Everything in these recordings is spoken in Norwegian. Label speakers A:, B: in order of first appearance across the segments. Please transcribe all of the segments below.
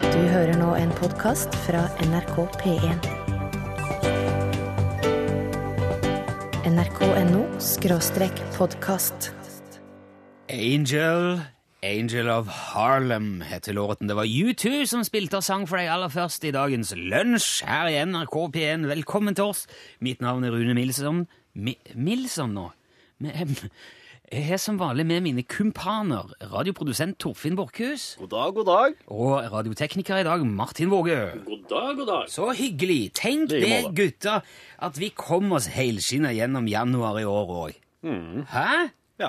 A: Du hører nå en podkast fra NRK P1. NRK.no skråstrek podkast.
B: Angel, Angel of Harlem heter låten. Det var U2 som spilte og sang for deg aller først i dagens lunsj her i NRK P1. Velkommen til oss. Mitt navn er Rune Milsom. Mi Milsom nå? Men, Jeg er som vanlig med mine kumpaner, radioprodusent Torfinn Borkhus
C: God dag, god dag.
B: og radiotekniker i dag Martin Våge.
C: God dag, god dag.
B: Så hyggelig! Tenk
C: Like
B: det,
C: måte.
B: gutta, at vi kom oss helskinna gjennom januar i år òg.
C: Mm.
B: Hæ?
C: Ja.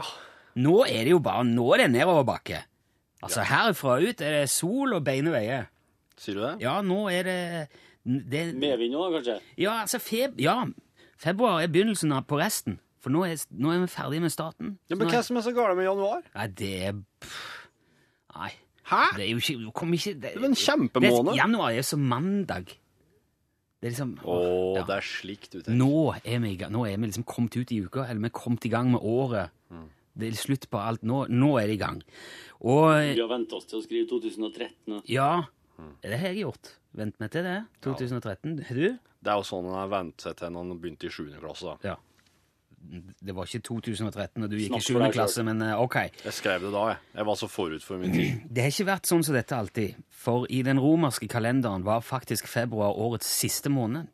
B: Nå er det jo bare nå er det nedoverbakke. Altså herfra ut er det sol og beine veier.
C: Sier du det?
B: Ja, nå er det, det
C: Medvind nå, kanskje?
B: Ja, altså feb... Ja, februar er begynnelsen av på resten. For nå er, nå er vi ferdig med staten.
C: Ja, men
B: Nå
C: Hva
B: er,
C: som er så galt med januar?
B: nei, det er pff, Nei.
C: Hæ?
B: Det er jo ikke, kom ikke Det,
C: er jo en kjempemåned.
B: Det- Januar er jo som mandag. Det er liksom
C: Å,
B: ja.
C: det er slikt du tenker.
B: Nå er vi, i gang- nå er vi liksom kommet ut i uka, eller vi er kommet i gang med året.
C: Mm.
B: Det er slutt på alt. Nå, nå er det i gang. Og
D: Vi har vent oss til å skrive 2013. og-
B: ja, det har jeg gjort. Vent meg til det. 2013. Har Du?
C: Det er jo sånn han har vent seg til når han begynte i 7. klasse. da.
B: Ja. Det var ikke 2013, og du gikk
D: Snakk
B: i
D: for deg
B: 7. klasse, men eh, ok.
C: Jeg skrev det da, jeg. Jeg var så forut for min tid.
B: Det har ikke vært sånn som dette alltid, for i den romerske kalenderen var faktisk februar årets siste måned.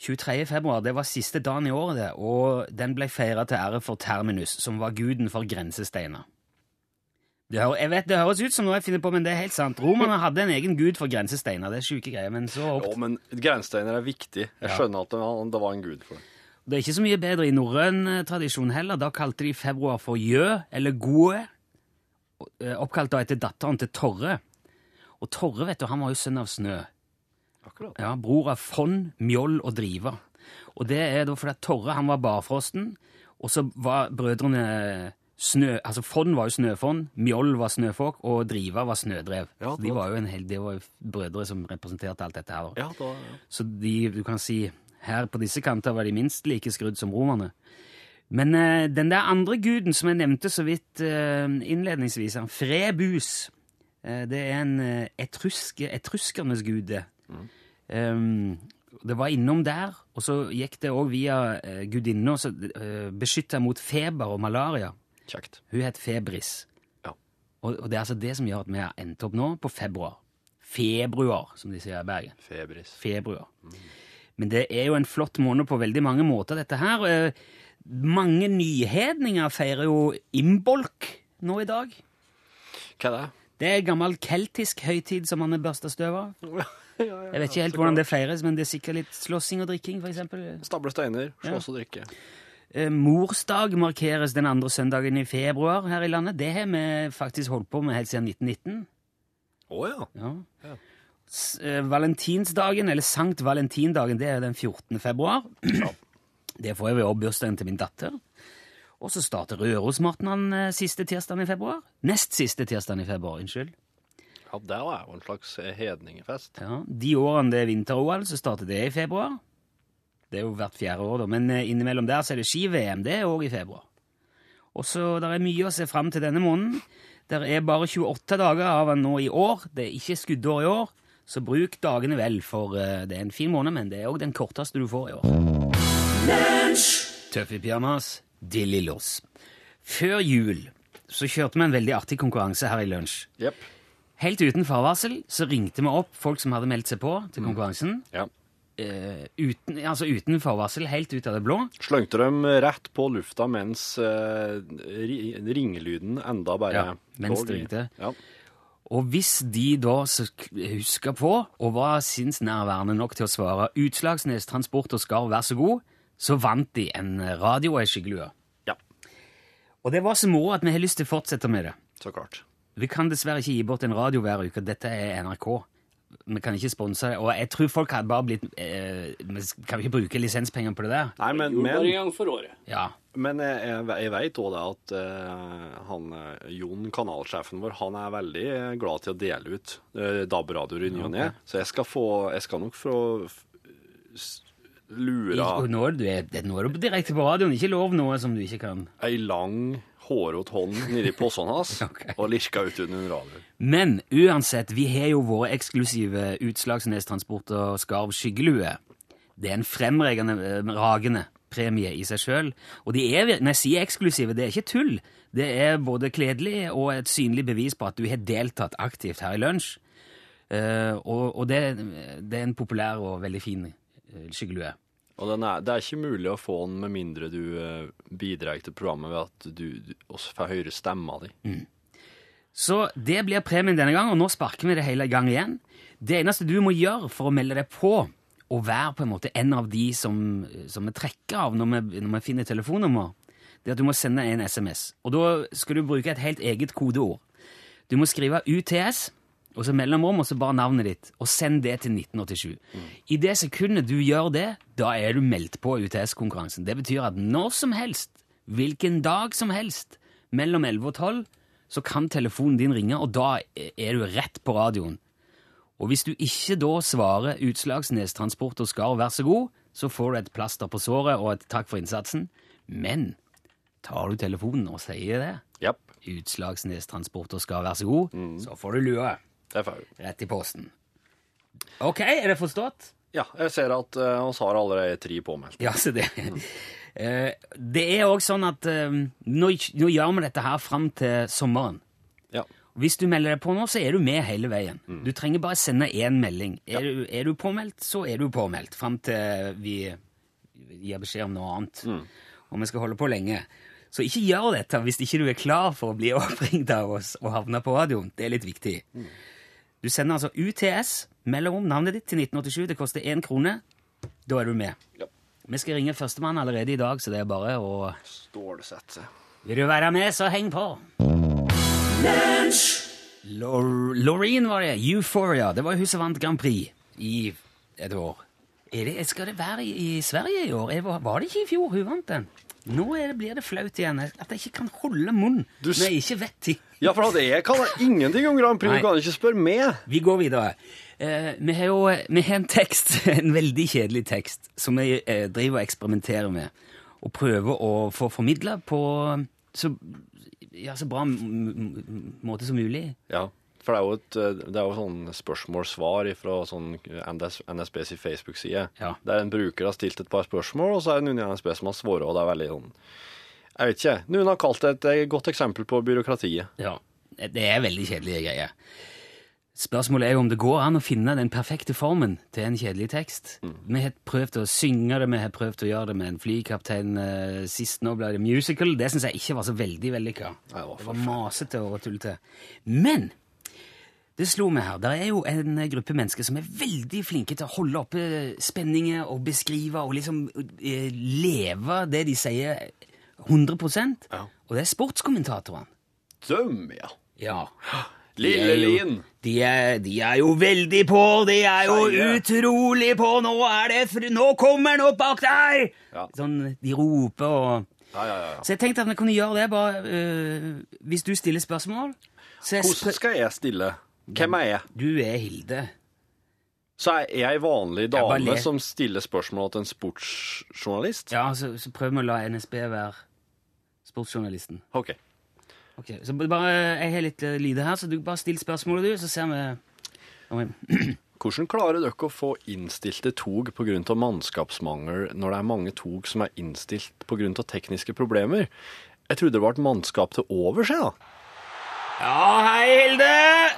B: 23. februar det var siste dagen i året, det, og den ble feira til ære for Terminus, som var guden for grensesteiner. Det hø- jeg vet det høres ut som noe jeg finner på, men det er helt sant. Romerne hadde en egen gud for grensesteiner. det er syke greier, men så opp...
C: Å, men grensesteiner er viktig. Jeg skjønner at det, det var en gud for det.
B: Det er ikke så mye bedre i norrøn eh, tradisjon heller. Da kalte de februar for Jø, eller Goe, eh, oppkalt da etter datteren til Torre. Og Torre, vet du, han var jo sønn av Snø.
C: Akkurat.
B: Ja, Bror av Fond, Mjoll og Driva. Og det er da fordi at Torre han var barfrosten, og så var brødrene Snø, altså Fond var jo Snøfond, Mjoll var Snøfåk, og Driva var Snødrev.
C: Ja,
B: så de var jo en hel, de var jo brødre som representerte alt dette her. da.
C: Ja, da,
B: Så de, du kan si, her på disse kanter var de minst like skrudd som romerne. Men eh, den der andre guden som jeg nevnte så vidt eh, innledningsvis, han Frebus, eh, det er en eh, etruske, etruskernes gude. Um, det var innom der, og så gikk det òg via eh, gudinna som eh, beskytta mot feber og malaria.
C: kjekt.
B: Hun het Febris.
C: Ja.
B: Og, og det er altså det som gjør at vi har endt opp nå på februar. Februar, som de sier i Bergen
C: Febris.
B: februar. Men det er jo en flott måned på veldig mange måter, dette her. Eh, Mange nyhedninger feirer jo imbolk nå i dag.
C: Hva er det?
B: Det er en gammel keltisk høytid som man er børsta støv av.
C: ja, ja.
B: Jeg vet ikke helt hvordan det feires, men det er sikkert litt slåssing og drikking, f.eks.
C: Stable steiner, slåss og drikke.
B: Morsdag markeres den andre søndagen i februar her i landet. Det har vi faktisk holdt på med helt siden 1919.
C: Å ja.
B: Ja. S- eh, Valentinsdagen, eller Sankt Valentindagen, det er den 14. februar. Det får jeg ved bursdagen til min datter. Og så starter Rørosmartnan eh, siste tirsdagen i februar. Nest siste tirsdagen i februar, unnskyld.
C: Ja, det var jo en slags hedningefest.
B: Ja. De årene det er vinter-OL, så starter det i februar. Det er jo hvert fjerde år, da. Men eh, innimellom der så er det ski-VM. Det er òg i februar. Og så der er mye å se fram til denne måneden. Der er bare 28 dager av den nå i år. Det er ikke skuddår i år. Så bruk dagene vel, for eh, det er en fin måned, men det er òg den korteste du får i år. Tøffe pyjamas, Dillillos. Før jul så kjørte vi en veldig artig konkurranse her i lunsj.
C: Jepp.
B: Helt uten forvarsel så ringte vi opp folk som hadde meldt seg på til konkurransen.
C: Ja.
B: Eh, uten, altså uten forvarsel, helt ut av det blå.
C: Slengte dem rett på lufta mens eh, ri- ringelyden enda bare
B: Ja, mens det ringte.
C: Ja.
B: Og hvis de da sk- huska på og var sinnsnærværende nok til å svare 'Utslagsnes Transport og Skarv, vær så god', så vant de en radio og ei skyggelue.
C: ja,
B: Og det var så moro at vi har lyst til å fortsette med det.
C: så klart.
B: Vi kan dessverre ikke gi bort en radio hver uke. Dette er NRK. Vi kan ikke sponse det. Og jeg tror folk hadde bare blitt eh, Vi kan ikke bruke lisenspenger på det der.
C: Nei, men,
D: Jo, bare en
C: men,
D: gang for året.
B: Ja,
C: men jeg, jeg, jeg veit òg det at eh, han eh, Jon, kanalsjefen vår, han er veldig eh, glad til å dele ut eh, DAB-radioer i ny og ne, så jeg skal få Jeg skal nok få f- s-
B: I-
C: lura
B: og Nå er du, det- nå er du direkte på radioen. Ikke lov noe som du ikke kan.
C: ei lang hårete hånd nedi posen hans og lirka ut under en radio.
B: Men uansett, vi har jo våre eksklusive Utslagsnestransport og Skarv skyggelue. Det er en fremragende eh, ragende premie i seg sjøl. Og de er, vir- når jeg sier eksklusive, det er ikke tull. Det er både kledelig og et synlig bevis på at du har deltatt aktivt her i lunsj. Eh, og og det, det er en populær og veldig fin eh, skyggelue.
C: Og den er, det er ikke mulig å få den med mindre du eh, bidrar til programmet ved at du, du også får høre stemma di.
B: Så det blir premien denne gang, og nå sparker vi det hele i gang igjen. Det eneste du må gjøre for å melde deg på, og være på en måte en av de som, som vi trekker av når vi, når vi finner telefonnummer, det er at du må sende en SMS. Og da skal du bruke et helt eget kodeord. Du må skrive UTS, og så mellomrom, og så bare navnet ditt, og send det til 1987. I det sekundet du gjør det, da er du meldt på UTS-konkurransen. Det betyr at når som helst, hvilken dag som helst, mellom 11 og 12, så kan telefonen din ringe, og da er du rett på radioen. Og hvis du ikke da svarer Utslagsnes Transport og Skar, vær så god, så får du et plaster på såret og et takk for innsatsen. Men tar du telefonen og sier det,
C: Japp,
B: Utslagsnes Transport og Skar, vær så god, så får du lue
C: det får jeg.
B: rett i posten. Ok, er det forstått?
C: Ja, jeg ser at vi har allerede tre påmeldt.
B: Ja, så det. Eh, Det er òg sånn at eh, nå, nå gjør vi dette her fram til sommeren.
C: Ja.
B: Hvis du melder deg på nå, så er du med hele veien. Du trenger bare sende én melding. Er, du, er du påmeldt, så er du påmeldt, fram til vi gir beskjed om noe annet. Og vi skal holde på lenge. Så ikke gjør dette hvis ikke du er klar for å bli oppringt av oss og havne på radioen. Det er litt viktig. Du sender altså UTS, mellom navnet ditt, til 1987. Det koster én krone. Da er du med.
C: Ja.
B: Vi skal ringe førstemann allerede i dag, så det er bare å
C: Stålsette.
B: Vil du være med, så heng på! Lor Loreen var det. Euphoria. Det var hun som vant Grand Prix i et år. Er det, skal det være i, i Sverige i år? Er det, var det ikke i fjor hun vant den? Nå er det, blir det flaut igjen. At jeg ikke kan holde munn
C: Du s-
B: når jeg ikke vet ting.
C: Ja, for at jeg kan da ingenting om Grand Prix,
B: Nei.
C: du kan ikke spørre meg.
B: Vi går videre. Eh, vi har jo vi har en tekst, en veldig kjedelig tekst, som vi eh, driver og eksperimenterer med. Og prøver å få formidla på så, ja, så bra m m måte som mulig.
C: Ja, for det er jo, et, eh, det er jo sånn spørsmål-svar fra sånn NS, NSB sin Facebook-side.
B: Ja.
C: Der en bruker har stilt et par spørsmål, og så er det noen i NSB som har svart, og det er veldig sånn Jeg vet ikke. Noen har kalt det et eh, godt eksempel på byråkratiet.
B: Ja. Det er veldig kjedelige greier. Spørsmålet er jo om det går an å finne den perfekte formen til en kjedelig tekst.
C: Mm.
B: Vi har prøvd å synge det, vi har prøvd å gjøre det med en flykaptein eh, sist. Nå ble det musical. Det syns jeg ikke var så veldig vellykka.
C: Nei, det var
B: Det var masete og tullete. Men det slo meg her. Det er jo en gruppe mennesker som er veldig flinke til å holde oppe spenninger og beskrive og liksom eh, leve det de sier, 100
C: Ja.
B: Og det er sportskommentatorene.
C: Døm, ja.
B: Ja.
C: Lille Lien.
B: De er, de er jo veldig på, de er jo
C: Seie.
B: utrolig på, nå er det fr... Nå kommer den opp bak deg!
C: Ja.
B: Sånn, de roper og
C: Ja, ja, ja.
B: Så jeg tenkte at vi kunne gjøre det, bare øh, Hvis du stiller spørsmål så jeg
C: Hvordan
B: spør...
C: skal jeg stille? Hvem er jeg?
B: Du er Hilde.
C: Så er jeg ei vanlig
B: bare
C: dame
B: ler.
C: som stiller spørsmål til en sportsjournalist?
B: Ja, så, så prøv med å la NSB være sportsjournalisten.
C: OK.
B: Ok, Så bare, Jeg har litt eh, lyder her, så du bare still spørsmålet, du, så ser vi om vi-
C: Hvordan klarer dere å få innstilte tog pga. mannskapsmangel når det er mange tog som er innstilt pga. tekniske problemer? Jeg trodde det var et mannskap til overs, jeg, da.
B: Ja, hei Hilde!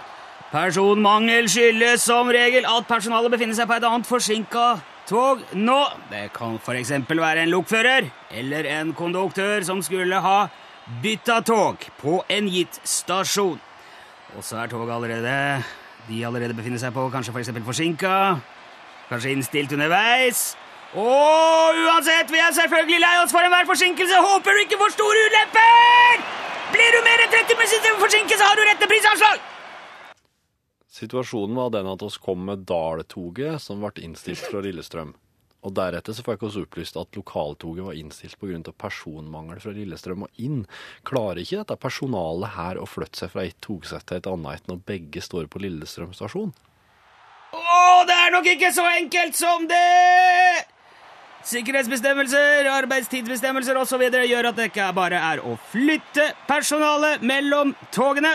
B: Personmangel skyldes som regel at personalet befinner seg på et annet forsinka tog nå. Det kan for eksempel være en lokfører eller en konduktør som skulle ha bytta tog på en gitt stasjon. Og så er toget allerede de allerede befinner seg på, kanskje for eksempel forsinka, kanskje innstilt underveis. Og uansett, vi er selvfølgelig lei oss for enhver forsinkelse. Håper du ikke får store ulemper! Blir du mer enn 30 forsinkelse, har du rett til prisanslag!
C: Situasjonen var den at oss kom med Dal-toget, som ble innstilt fra Lillestrøm. Og deretter så fikk oss opplyst at lokaltoget var innstilt pga. personmangel fra Lillestrøm og inn. Klarer ikke dette personalet her å flytte seg fra et togsett til et annet når begge står på Lillestrøm stasjon?
B: Å, det er nok ikke så enkelt som det! Sikkerhetsbestemmelser, arbeidstidsbestemmelser osv. gjør at det ikke bare er å flytte personalet mellom togene.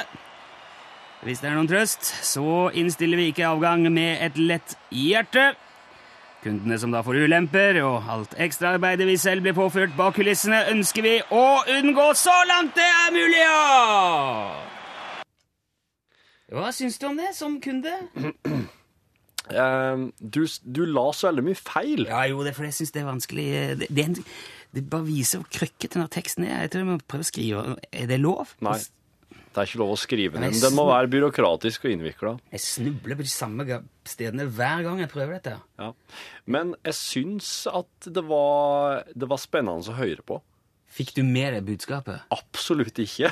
B: Hvis det er noen trøst, så innstiller vi ikke avgang med et lett hjerte. Kundene som da får ulemper, og alt ekstraarbeidet vi selv blir påført bak kulissene, ønsker vi å unngå så langt det er mulig! ja! Hva syns du om det som kunde?
C: Eh, du, du la så veldig mye feil.
B: Ja, jo, det er fordi jeg syns det er vanskelig eh, Det, det, er en- det bare viser hvor krøkkete den her teksten er. Jeg tror jeg må prøve å skrive Er det lov?
C: Nei. Det er ikke lov å skrive
B: Nei,
C: den. Den må være byråkratisk og innvikla.
B: Jeg snubler på de samme ga- stedene hver gang jeg prøver dette.
C: Ja. Men jeg syns at det var, det var spennende å høre på.
B: Fikk du med deg budskapet?
C: Absolutt ikke.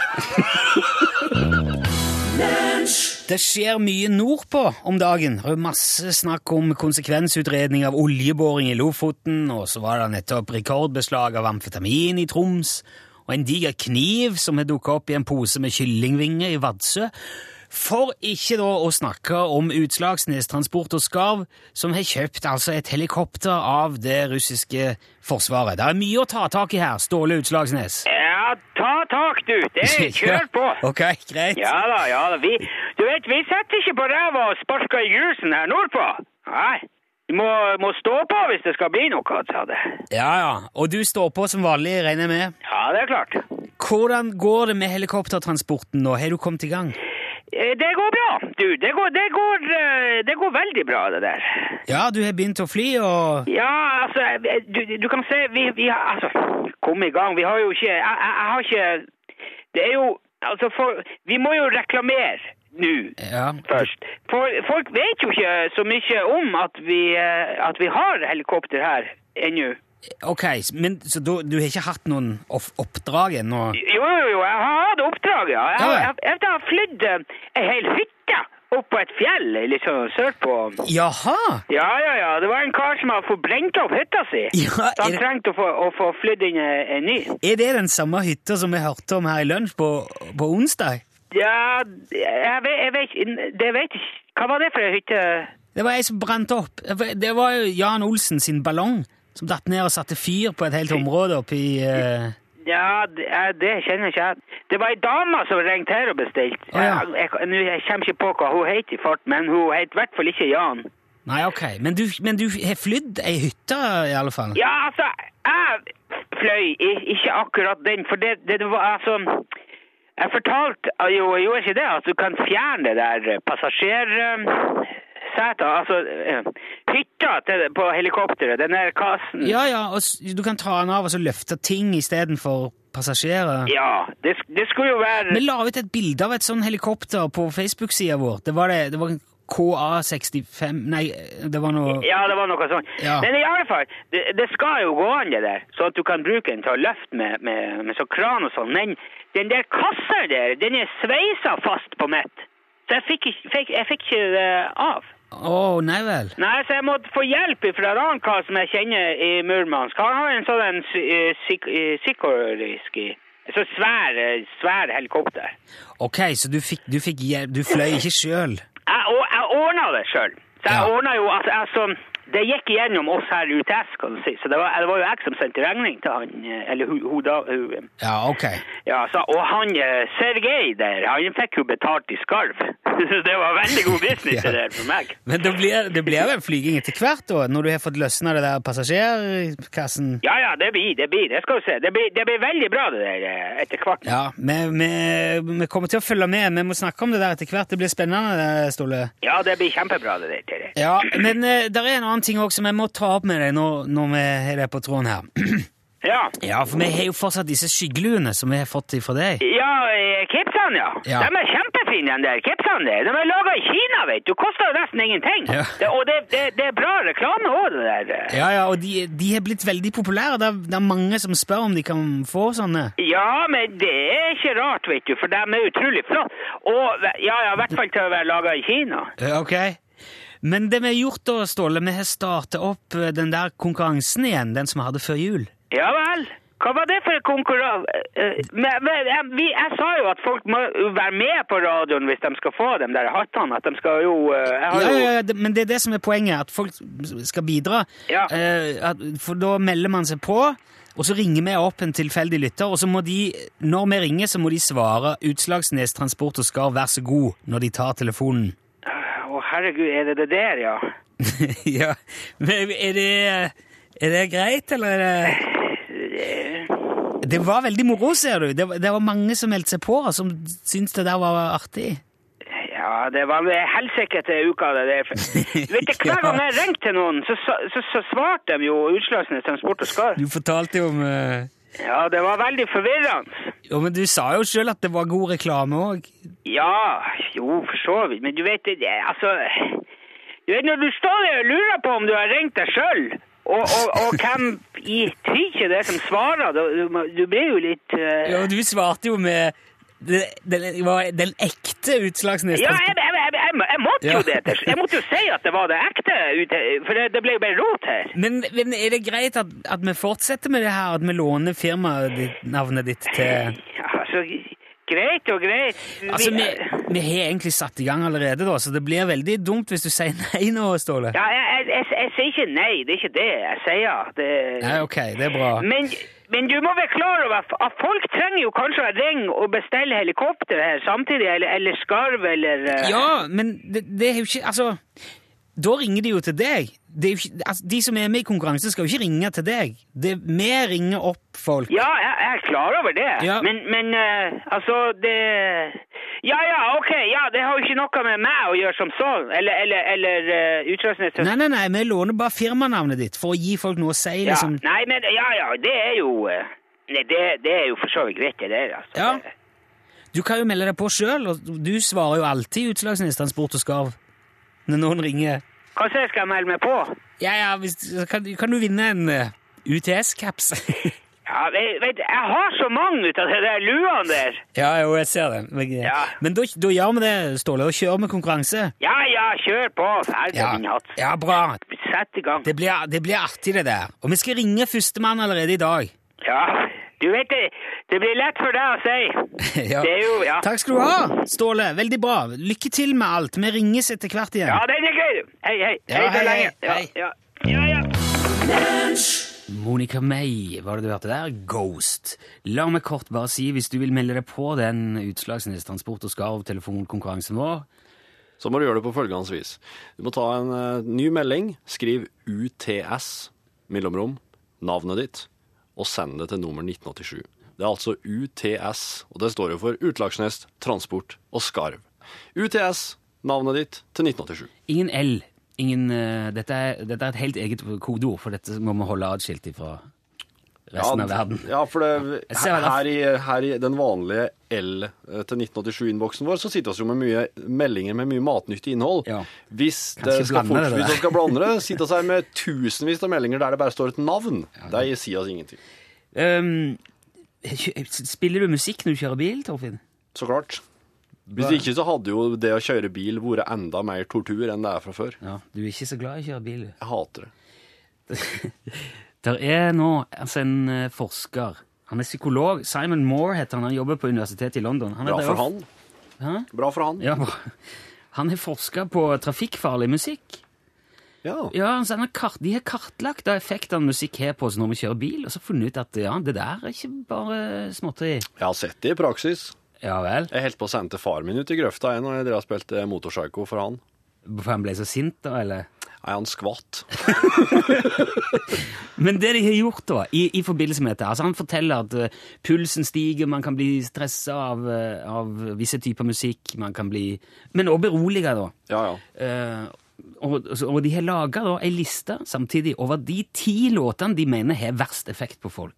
B: Det skjer mye nordpå om dagen. Det er masse snakk om konsekvensutredning av oljeboring i Lofoten, og så var det nettopp rekordbeslag av amfetamin i Troms, og en diger kniv som har dukka opp i en pose med kyllingvinger i Vadsø. For ikke da å snakke om Utslagsnes Transport og Skarv, som har kjøpt altså et helikopter av det russiske forsvaret. Det er mye å ta tak i her, Ståle Utslagsnes.
E: Ja, ta tak, du. Det er kjør på.
B: Ok, greit.
E: Ja da, ja da. Vi, du vet, vi setter ikke på ræva og sparker i grusen her nordpå. Nei. Du må, må stå på hvis det skal bli noe, altså. sa det.
B: Ja, ja. Og du står på som vanlig, regner jeg med?
E: Ja, det er klart.
B: Hvordan går det med helikoptertransporten nå? Har du kommet i gang?
E: Eh, Det går bra, du. Det går, det går, eh, det går veldig bra, det der.
B: Ja, du har begynt å fly, og
E: Ja, altså, eh, du, du kan se vi, vi har Altså, kom i gang. Vi har jo ikke Jeg, jeg, jeg har ikke Det er jo Altså, for Vi må jo reklamere nå.
B: Ja.
E: først. For folk vet jo ikke så mye om at vi, eh, at vi har helikopter her ennå.
B: Ok, men så du, du har ikke hatt noen off- oppdrag ennå?
E: Jo, jo, jo, jeg har hatt oppdrag, ja. Jeg, har-
B: Ja.
E: jeg, jeg har flydd eh, ei hel hytte opp på et fjell liksom sørpå.
B: Jaha!
E: Ja, ja, ja. Det var en kar som hadde forbrent opp hytta si.
B: Ja,
E: Så han
B: er-
E: trengte å få, å få flydd inn ei ei ny.
B: Er det den samme hytta som vi hørte om her i lunsj på, på onsdag?
E: Ja, jeg vet, jeg vet ikke Det vet ikke Hva var det for ei hytte?
B: Det var ei som brant opp. Det var jo Jan Olsen sin ballong som datt ned og satte fyr på et helt område oppi uh...
E: Ja, det, jeg- det kjenner ikke jeg. Det var ei dame som ringte her og bestilte.
B: Å, ja.
E: Jeg, jeg, nå, jeg kommer ikke på hva hun het i fart, men hun het i hvert fall ikke Jan.
B: Nei, ok, men du, men du har flydd ei hytte, i alle fall?
E: Ja, altså, jeg fløy i- ikke akkurat den, for det, det var altså Jeg fortalte ah, jo, jeg gjorde ikke det, at du kan fjerne det der passasjersetet, altså eh, hytta til, på helikopteret, den der kassen.
B: Ja, ja, og s- du kan ta den av og så løfte ting istedenfor passasjerer.
E: Ja, det, sk- det skulle jo være
B: Vi la ut et bilde av et sånn helikopter på Facebook-sida vår. Det var det, det var en KA65 Nei, det var noe
E: Ja, det var noe sånt.
B: Ja.
E: Men i alle fall, det, det skal jo gå an det der, sånn at du kan bruke den til å løfte med, med, med sånn kran og sånn. Men den der kassa der, den er sveisa fast på mitt. Så jeg fikk, ikke- fikk, jeg fikk ikke det av.
B: Å, nei vel.
E: Nei, så jeg måtte få hjelp fra en annen kar som jeg kjenner i Murmansk. Han har en sånn en sy- eh, sik- eh, sikorisk i. Så svær, eh, svær helikopter.
B: Ok, så du fikk, du fikk hjelp Du fløy ikke sjøl?
E: Jeg, og, jeg ordna det sjøl. Så jeg
B: Ja.
E: ordna jo at altså, Det gikk igjennom oss her i UTS, kan du si. Så det var, det var jo jeg som sendte regning til han, eh, eller hun, hun da hun, eh,
B: Ja, ok.
E: ja, så, Og han eh, Sergej der, han fikk jo betalt i skarv. Så det var veldig god business det der for meg.
B: Men det blir, det blir vel flyging etter hvert, da? Når du har fått løsna det der passasjerkassen?
E: Ja ja, det blir, det blir. Det skal du se. Det blir, det blir veldig bra, det der, eh, etter hvert.
B: Ja, vi, vi, vi kommer til å følge med. Vi må snakke om det der etter hvert. Det blir spennende, Ståle.
E: Ja, det blir kjempebra, det der. Terje.
B: Ja, men eh, der er en annen ting også som jeg må ta opp med deg når, når vi har deg på tråden her.
E: Ja.
B: Ja, for vi har jo fortsatt disse skyggeluene som vi har fått fra deg.
E: Ja, eh, kepsene, ja.
B: Ja.
E: De er kjempefine, de der kepsene der. De er laget i Kina, vet du. Koster jo nesten ingenting.
B: Ja.
E: Det, og det, det, det er bra reklame også, det der.
B: Ja, ja, og de, de har blitt veldig populære. Det er, det er mange som spør om de kan få sånne.
E: Ja, men det er ikke rart, vet du, for de er utrolig flott. Og, ja, ja, i hvert fall til å være laget i Kina.
B: Eh, Ok. Men det vi har gjort da, Ståle, vi har startet opp eh, den der konkurransen igjen, den som vi hadde før jul.
E: Ja vel. Hva var det for en konkurranse? Eh, men- men Jeg, vi- jeg sa jo at folk må være med på radioen hvis de skal få de der hattene. At de skal jo eh, jeg har
B: Ja,
E: jo
B: ja, ja, det- men det er det som er poenget, at folk skal bidra.
E: Ja.
B: Eh, at, for da melder man seg på, og så ringer vi opp en tilfeldig lytter, og så må de, når vi ringer, så må de svare Utslagsnes Transport og Skar, vær så god, når de tar telefonen.
E: Å, herregud, er det det der, ja?
B: ja, men er det, er det greit, eller er det Det var veldig moro, ser du. Det, var- det var mange som meldte seg på, og som syntes det der var artig.
E: Ja, det var vel helsike til uka, det der. Vet du,
B: Ja.
E: hver gang jeg ringte til noen, så, så, så, så svarte de jo Utslagsnes Transport og Skar.
B: Du fortalte jo om eh,
E: Ja, det var veldig forvirrende.
B: Jo, men du sa jo sjøl at det var god reklame òg.
E: Ja, jo, for så vidt. Men du vet, det, det- altså Du vet når du står der og lurer på om du har ringt deg sjøl, og, og, og hvem i tyke det er som svarer, da- du, må- du blir jo litt eh,
B: Ja, og du svarte jo med det- den, var den ekte utslagsnes.
E: Ja, jeg, jeg, jeg, jeg, jeg måtte jo
B: Ja.
E: det til slutt. Jeg måtte jo si at det var det ekte, ute- for det, det ble jo bare rot her.
B: Men, men er det greit at, at vi fortsetter med det her, at vi låner firmaet ditt, navnet ditt til
E: Ja, altså, greit og greit.
B: Altså, vi,
E: Vi-
B: vi har egentlig satt i gang allerede, da, så det blir veldig dumt hvis du sier nei nå, Ståle.
E: Ja, jeg, jeg, jeg, jeg sier ikke nei, det er ikke det jeg sier. Det...
B: Nei, ok, det er bra.
E: Men, men du må være klar over at- at folk trenger jo kanskje å ringe og bestille helikopter her samtidig, eller, eller skarv, eller eh,
B: Ja, men det, det er jo ikke Altså, da ringer de jo til deg. Det er jo ikke, altså, de som er med i konkurransen, skal jo ikke ringe til deg. Det, vi ringer opp folk.
E: Ja, jeg, jeg er klar over det,
B: Ja.
E: men, men eh, altså det Ja ja, OK, ja, det har jo ikke noe med meg å gjøre som sånn, eller, eller, eller eh, utrustning til
B: Nei, nei, nei, vi låner bare firmanavnet ditt for å gi folk noe å si,
E: ja.
B: liksom.
E: Nei, men ja ja, det er jo eh, Nei, det, det er jo for så vidt greit, det der, altså.
B: Ja. Du kan jo melde deg på sjøl, og du svarer jo alltid Utslagsnes Transport og Skarv når noen ringer.
E: Hva sier jeg skal jeg melde meg på?
B: Ja, ja, hvis, kan, kan du vinne en eh, UTS-caps?
E: Ja, vet, vet, jeg har så mange ut av de der luene der.
B: ja, jo, jeg ser det. Men, eh,
E: Ja.
B: men da, da gjør vi det, Ståle, og kjører med konkurranse.
E: Ja ja, kjør på, ferdig
B: Ja,
E: min hatt.
B: ja bra.
E: Sett i gang.
B: Det blir, det blir artig, det der. Og vi skal ringe førstemann allerede i dag.
E: Ja, du vet det. Det blir lett for deg å si.
B: Ja.
E: Det er jo, ja.
B: Takk skal du ha, Ståle. Veldig bra. Lykke til med alt. Vi ringes etter hvert igjen.
E: Ja, den er gøy. Hei, hei.
B: Ja,
E: hei, så
B: hei,
E: lenge.
B: hei,
E: Ja,
B: hei.
E: ja. ja, ja.
B: Monica May, var det du hørte der? Ghost. La meg kort bare si, hvis du vil melde deg på den Utslagsnes Transport og Skarv-telefonkonkurransen vår
C: Så må du gjøre det på følgende vis. Du må ta en eh, ny melding, skriv UTS, mellomrom, navnet ditt, og send det til nummer 1987. Det er altså UTS, og det står jo for Utlagsnest, Transport og Skarv. UTS, navnet ditt, til 1987.
B: Ingen L. Ingen, eh, dette, er, dette er et helt eget kodeord, for dette må vi holde atskilt fra resten av verden.
C: Ja, for det,
B: Jeg ser hva det
C: her,
B: er.
C: her, i, her i den vanlige L eh, til 1987-innboksen vår, så sitter vi jo med mye meldinger med mye matnyttig innhold.
B: Ja.
C: Hvis
B: Kan
C: det
B: ikke
C: skal,
B: blande
C: fort,
B: det der.
C: hvis det skal blande det, sitter vi her med tusenvis av meldinger der det bare står et navn. det sier oss ingenting.
B: Ehm, kjø- spiller du musikk når du kjører bil, Torfinn?
C: Så klart. Hvis ikke så hadde jo det å kjøre bil vært enda mer tortur enn det er fra før.
B: Ja, Du er ikke så glad i å kjøre bil, du.
C: Jeg hater det.
B: Der er nå altså en eh, forsker. Han er psykolog. Simon Moore heter han. Han jobber på universitetet i London. Han er
C: Bra
B: der
C: for
B: også-
C: han.
B: Hæ?
C: Bra for han.
B: Ja, han har forska på trafikkfarlig musikk.
C: Ja.
B: Ja, altså, han har kart, De har kartlagt da effektene musikk har på oss når vi kjører bil, og så funnet ut at ja, det der er ikke bare småtteri.
C: Jeg har sett det i praksis.
B: Ja vel?
C: Jeg holdt på å sende til far min ut i grøfta jeg, når jeg drev og spilte motorpsycho for han.
B: For han ble så sint, da, eller?
C: Nei, han skvatt.
B: Men det de har gjort, da, i, i forbindelse med dette altså Han forteller at eh, pulsen stiger, man kan bli stressa av, eh, av visse typer musikk, man kan bli Men også beroliga, da.
C: Ja, ja.
B: Eh, og, og de har laga ei liste samtidig over de ti låtene de mener har verst effekt på folk.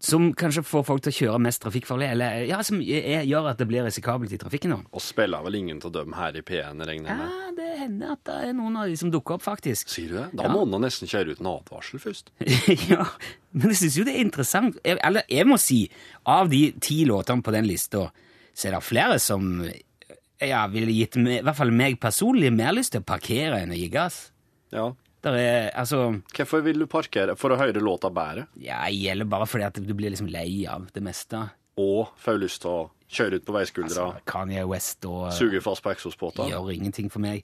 B: Som kanskje får folk til å kjøre mest trafikkfarlig, eller ja, som er, gjør at det blir risikabelt i trafikken. Da.
C: Og spiller vel ingen av dem her i P1, regner jeg med.
B: Ja, det hender at det er noen av de som dukker opp, faktisk.
C: Sier du det? Da må han nesten kjøre ut en advarsel først.
B: ja, Men jeg syns jo det er interessant. Jeg, eller jeg må si, av de ti låtene på den lista, så er det flere som ja, ville gitt meg, i hvert fall meg personlig mer lyst til å parkere enn å gi gass.
C: Ja.
B: Der er, altså,
C: Hvorfor vil du parkere? For å høre låta bedre?
B: ja, jeg gjelder bare fordi at du blir liksom lei av det meste.
C: Og får du lyst til å kjøre ut på veiskuldra?
B: Altså, Kanye West og
C: Suge fast på eksospåta?
B: gjør ingenting for meg.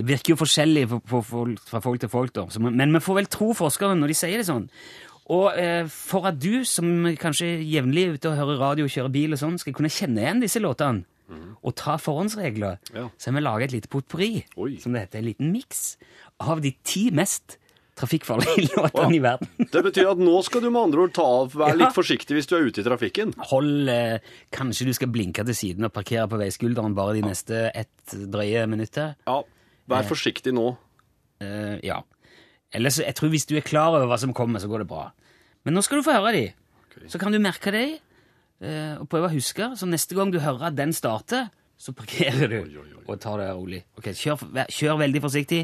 B: Det virker jo forskjellig for, for, folk- fra folk til folk, da. Så, men men vi får vel tro forskerne når de sier det sånn. Og eh, for at du, som kanskje jevnlig er ute og hører radio og kjører bil og sånn, skal kunne kjenne igjen disse låtene og ta forhåndsregler,
C: Ja.
B: så har vi laget et lite potpurri,
C: Oi.
B: som det heter, en liten miks, av de ti mest trafikkfarlige låtene i verden.
C: Det betyr at nå skal du med andre ord ta av, være
B: Ja.
C: litt forsiktig hvis du er ute i trafikken.
B: Hold eh, Kanskje du skal blinke til siden og parkere på veiskulderen bare de neste ett drøye minuttet?
C: Ja, vær forsiktig nå.
B: Eh, ja. Ellers, jeg tror hvis du er klar over hva som kommer, så går det bra. Men nå skal du få høre de. Så kan du merke deg eh, og prøve å huske. Så neste gang du hører at den starter, så parkerer du og tar det rolig. Ok, kjør, for- vær- kjør veldig forsiktig.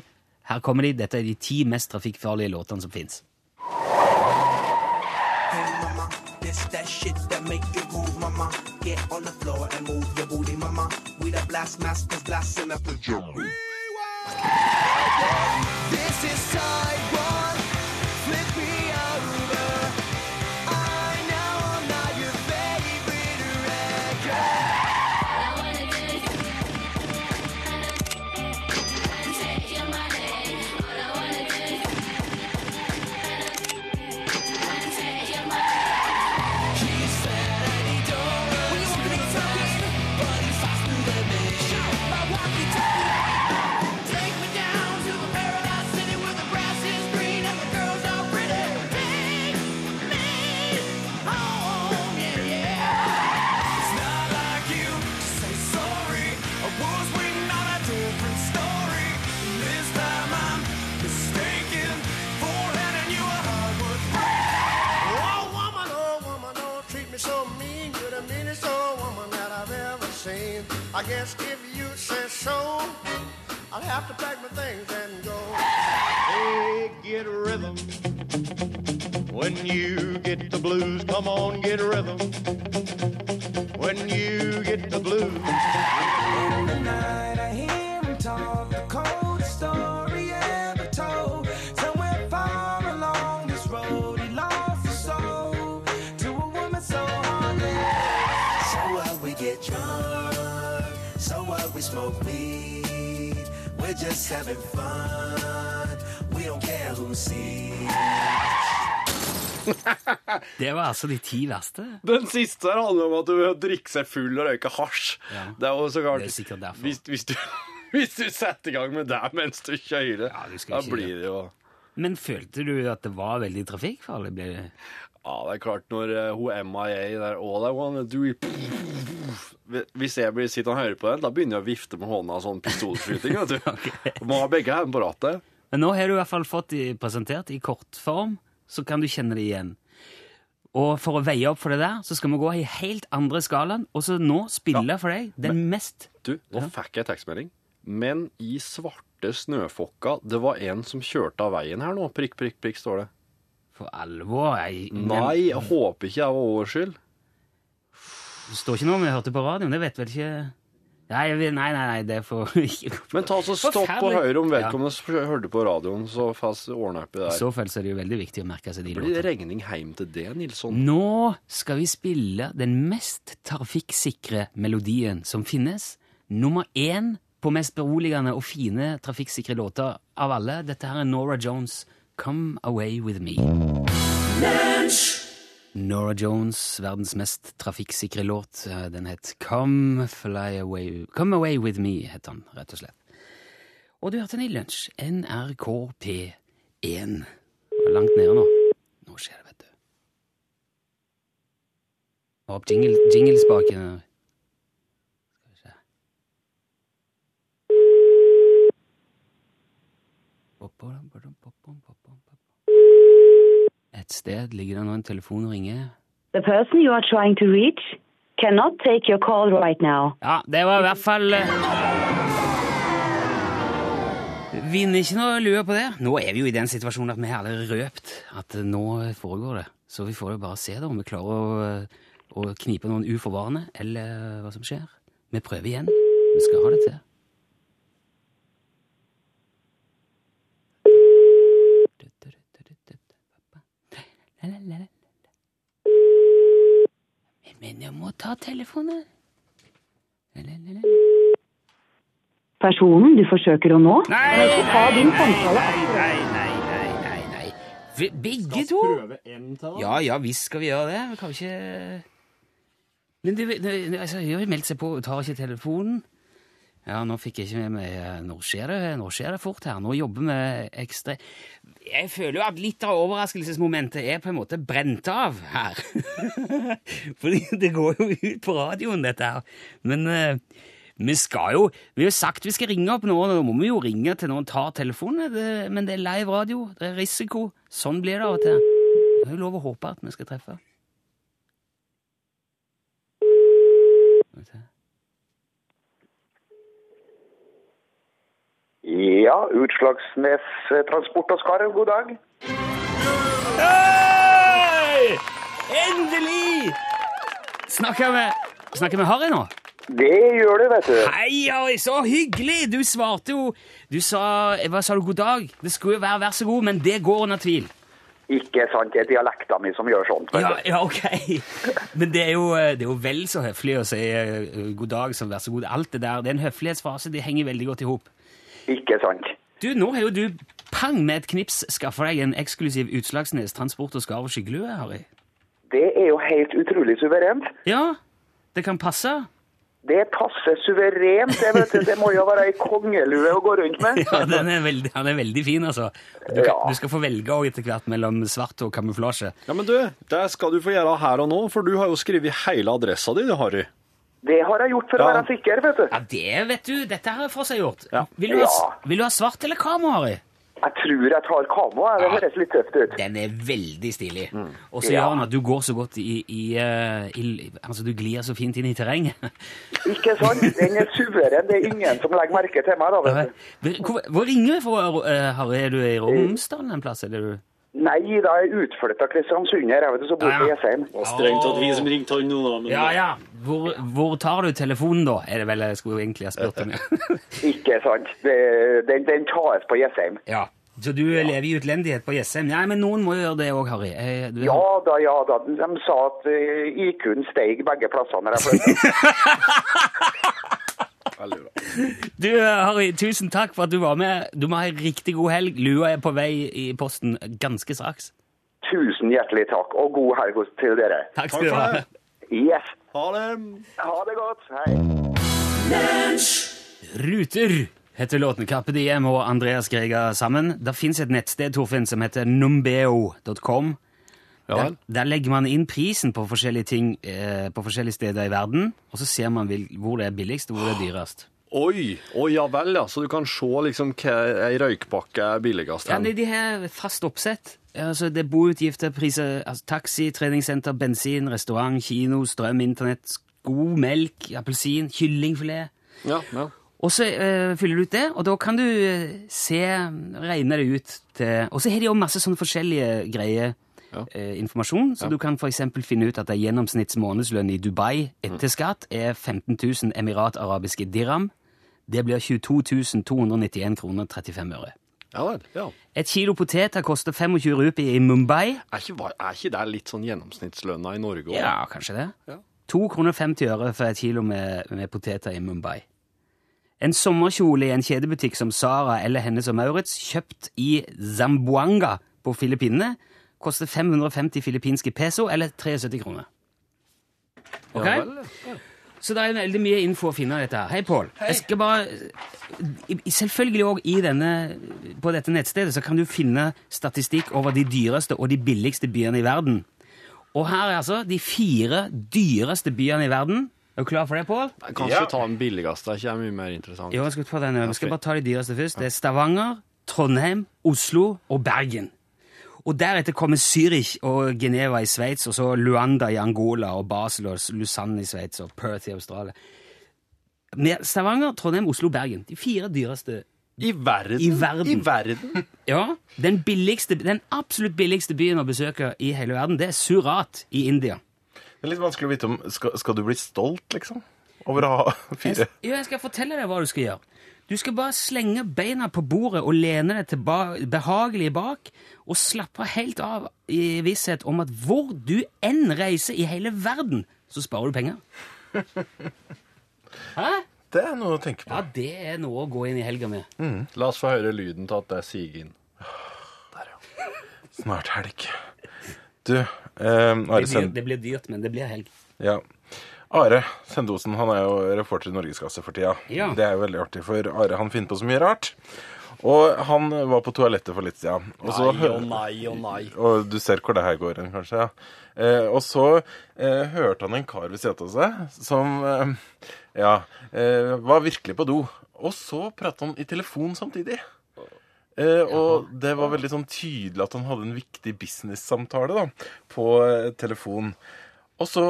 B: Her kommer de. Dette er de ti mest trafikkfarlige låtene som fins.
F: Hey mama, this that shit that make you move, mama. Get on the floor and move your booty, mama. We the blast masters blasting up the jungle. This is side one. Flip me over. I know I'm not your favorite record.
G: Take me down to a paradise city where the grass is green and the girls are pretty. Take me home, yeah, yeah. It's not like you say sorry. I was waiting on a different story. This time I'm mistaken for letting you a hard work. Oh woman, oh woman, oh treat me so mean. You're the meanest old woman that I've ever seen. I guess if you say so. I'll have to pack my things and go. Hey, get a rhythm. When you get the blues, come on, get a rhythm. When you get the blues.
F: So what we get drunk, so what we smoke weed. We're just having fun. We don't care who sees.
B: Det var altså de ti verste.
C: Den siste her handler om at du vil drikke seg full og røyke hasj. Det er jo så klart.
B: Det er sikkert derfor.
C: Hvis, hvis, du, hvis du setter i gang med det mens du kjører,
B: Ja, du skal
C: da
B: ikke
C: blir det jo
B: Men følte du at det var veldig trafikkfarlig? Ble det?
C: Ja, det er klart når eh, hun MIA der All I wanna do is Hvis jeg blir sittende og hører på den, da begynner jeg å vifte med hånda sånn pistolskyting. vet du. Må ha begge hendene på rattet.
B: Men nå har du i hvert fall fått de presentert i kortform, så kan du kjenne det igjen. Og for å veie opp for det der, så skal vi gå i helt andre skalaen, og så nå spille for deg den mest
C: Du, nå fikk jeg tekstmelding. Men i svarte snøfokka, det var en som kjørte av veien her nå. Prikk, prikk, prikk, står det.
B: for alvor. Jeg,
C: Nei, jeg håper ikke jeg var vår skyld.
B: Det står ikke noe om jeg hørte på radioen, det vet vel ikke Nei, jeg vet- nei, nei, nei det får
C: Men ta så stopp på
B: Forferdelig.
C: høyre om vedkommende som hørte på radioen, så fast ordna opp i
B: I
C: det her.
B: så fall så er det jo veldig viktig å merke seg de
C: Blir det
B: låtene.
C: regning heim til det, Nilsson?
B: Nå skal vi spille den mest trafikksikre melodien som finnes. Nummer én på mest beroligende og fine trafikksikre låter av alle. Dette her er Nora Jones, 'Come Away With Me'. Nora Jones, verdens mest trafikksikre låt. Eh, Den het Come, Fly Away, Come Away With Me, het den rett og slett. Og du hørte den i lunsj. NRK P1. Langt nede nå. Nå skjer det, vet du. Og opp jingle, jinglespaken. her. Skal vi se. Bop-bom, bop-bom, bop-bom, bop-bom, bop-bom. Et sted ligger det nå en telefon og ringer.
H: The person you are trying to reach cannot take your call right now.
B: Ja, det var i hvert fall eh, Vinner ikke noe lue på det. Nå er vi jo i den situasjonen at vi har allerede røpt at eh, nå foregår det. Så vi får jo bare se da om vi klarer å, eh, å knipe noen uforvarende, eller eh, hva som skjer. Vi prøver igjen. Vi skal ha det til. La, la, la, la, la. Men jeg må ta telefonen. La, la, la, la.
H: Personen du forsøker å nå,
B: Nei,
H: kan ikke ta din
B: nei,
H: samtale
B: nei, nei, nei, nei, nei, nei. Vi- Begge to?
C: en til,
B: Ja, ja, visst skal vi gjøre det. Vi kan ikke Men du, du- altså, hun har jo meldt seg på og tar ikke telefonen. Ja, nå fikk jeg ikke med meg eh, Nå skjer det, nå skjer det fort her. Nå jobber vi ekstra Jeg føler jo at litt av overraskelsesmomentet er på en måte brent av her. Fordi det går jo ut på radioen, dette her. Men eh, vi skal jo Vi har sagt vi skal ringe opp nå, og da må vi jo ringe til noen tar telefonen. Det, men det er live radio. Det er risiko. Sånn blir det av og til. Det er jo lov å håpe at vi skal treffe. Skal vi se.
I: Ja, Utslagsnes eh, Transport og Skarv, god dag.
B: Hei! Endelig! Snakker vi, snakker vi Harry nå?
I: Det gjør du, vet du.
B: Hei, Harry, så hyggelig! Du svarte jo Du sa eh, Hva sa du? God dag? Det skulle jo være vær så god, men det går under tvil.
I: Ikke sant, det er dialekta mi som gjør sånt. vet
B: Ja,
I: du.
B: ja, ok. Men det er, jo, eh, det er jo vel så høflig å si eh, god dag som vær så god. Alt det der, det er en høflighetsfrase. Det henger veldig godt i hop.
I: Ikke sant.
B: Du, nå har jo du pang med et knips skaffa deg en eksklusiv Utslagsnes transport og skarv og skyggelue, Harry.
I: Det er jo helt utrolig suverent.
B: Ja, det kan passe.
I: Det passer suverent, det vet du. Det må jo være ei kongelue å gå rundt med.
B: Ja, den er veldig, han er veldig fin, altså. Du, kan,
I: Ja.
B: du skal få velge også etter hvert mellom svart og kamuflasje.
C: Ja, men du, det skal du få gjøre her og nå, for du har jo skrevet hele adressa di, du, Harry.
I: Det har jeg gjort for å
C: Ja.
I: være sikker, vet du.
B: Ja, det vet du, dette her er forseggjort.
C: Ja.
B: Vil, du ha,
I: Ja.
B: vil du ha svart eller kamo, Harry?
I: Jeg tror jeg tar kamo, jeg. det
B: Ja.
I: høres litt tøft ut.
B: Den er veldig stilig. Og så
I: Ja.
B: gjør han at du går så godt i, i, eh, i Altså, du glir så fint inn i terrenget.
I: Ikke sant? Den er suveren. Det er ingen som legger merke til meg, da, vet du.
B: Hvor, hvor ringer vi fra, eh, Harry? Er du i Romsdalen en plass, eller? er du-
I: Nei, da er jeg utflytta Kristiansund her, jeg vet du, så bor
B: Ja,
I: jeg
B: ja.
I: i Jessheim.
D: Det var strengt tatt vi som ringte han nå, da. Men
B: Ja, ja. Hvor, hvor tar du telefonen, da? Er det vel jeg skulle egentlig ha spurt om. ja.
I: Ikke sant. Det, den, den tas på Jessheim.
B: ja. Så du lever i utlendighet på Jessheim? Nei, men noen må jo gjøre det òg, Harry. Eh,
C: Mhm.
B: du-
I: Ja da, ja da. De sa at eh, IQ-en steig begge plassene. når jeg flyttet.
C: Veldig bra.
B: Du, eh, Harry, tusen takk for at du var med. Du må ha en riktig god helg. Lua er på vei i posten ganske straks.
I: Tusen hjertelig takk, og god helg hos- til dere.
B: Takk skal du
C: for
B: ha.
C: det.
I: Yes.
C: Ha det!
I: Ha det godt. Hei.
B: Ruter heter låten Carpe Diem og Andreas Greger sammen. Det fins et nettsted Torfinn, som heter numbeo.com.
C: Ja
B: Der,
C: vel.
B: der legger man inn prisen på forskjellige ting eh, på forskjellige steder i verden, og så ser man hvil, hvor det er billigst og hvor det er dyrest.
C: Oi! Å ja vel, ja. Så du kan se liksom hva ei røykpakke er billigst
B: Ja,
C: hen.
B: de, de har fast oppsett. Altså, det er boutgifter, priser, altså, taxi, treningssenter, bensin, restaurant, kino, strøm, internett, sko, melk, appelsin, kyllingfilet.
C: Ja, ja.
B: Og så eh, fyller du ut det, og da kan du eh, se, regne det ut til Og så har de jo masse sånne forskjellige greier.
C: Ja.
B: eh, informasjon, så du kan for eksempel finne ut at en gjennomsnitts månedslønn i Dubai etter skatt er 15 000 emiratarabiske dirham. Det blir 22 291 kroner 35 øre.
C: ja vel. Ja.
B: Et kilo poteter koster 25 rupier i Mumbai.
C: Er, ikke, var- er ikke det litt sånn gjennomsnittslønna i Norge òg?
B: Ja, kanskje det.
C: Ja.
B: 2 kroner 50 øre for et kilo med, med poteter i Mumbai. En sommerkjole i en kjedebutikk som Sara eller Hennes og Maurits, kjøpt i Zamboanga på Filippinene, koster 550 filippinske peso, eller 73 kroner. Ok?
C: Ja vel, ja.
B: Så det er veldig mye info å finne av dette. her. Hei, Pål. Jeg skal bare i- Selvfølgelig òg i denne På dette nettstedet så kan du finne statistikk over de dyreste og de billigste byene i verden. Og her er altså de fire dyreste byene i verden. Er du klar for det, Pål?
C: Kanskje ta den billigste. Det er ikke mye mer interessant.
B: Jo, jeg skal ta den. Vi skal bare ta de dyreste først. Det er Stavanger, Trondheim, Oslo og Bergen. Og deretter kommer Zürich og Geneva i Sveits, og så Luanda i Angola og Basel og Lausanne i Sveits og Perth i Australia. Med Stavanger, Trondheim, Oslo, Bergen. De fire dyreste
C: I verden!
B: I verden.
C: I verden.
B: Ja, den, billigste, den absolutt billigste byen å besøke i hele verden, det er Surat i India.
J: Det er litt vanskelig å vite om Skal, skal du bli stolt, liksom? Over å ha fire
B: Jo, jeg skal fortelle deg hva du skal gjøre. Du skal bare slenge beina på bordet og lene deg tilba- behagelig bak, og slappe helt av i visshet om at hvor du enn reiser i hele verden, så sparer du penger. Hæ?
G: Det er noe å tenke på. Mm.
B: Ja, det er noe å gå inn i helga med.
C: La oss få høre lyden til at det siger inn.
G: Snart helg. Du, eh, Are,
B: Det blir,
G: send,
B: det blir dyrt, men det blir helg.
G: ja. Are Sendosen han er jo reporter i Norgeskasse for tida.
B: Ja.
G: Det er jo veldig artig, for Are han finner på så mye rart. Og han var på toalettet for litt siden. Og så hø-
C: nei og nei.
G: Og du ser hvor det her går hen, kanskje. ja. Eh, og så eh, hørte han en kar ved siden av seg som eh, ja, eh, var virkelig på do. Og så pratet han i telefon samtidig. Eh, og det var veldig sånn tydelig at han hadde en viktig business-samtale da, på eh, telefon. Og så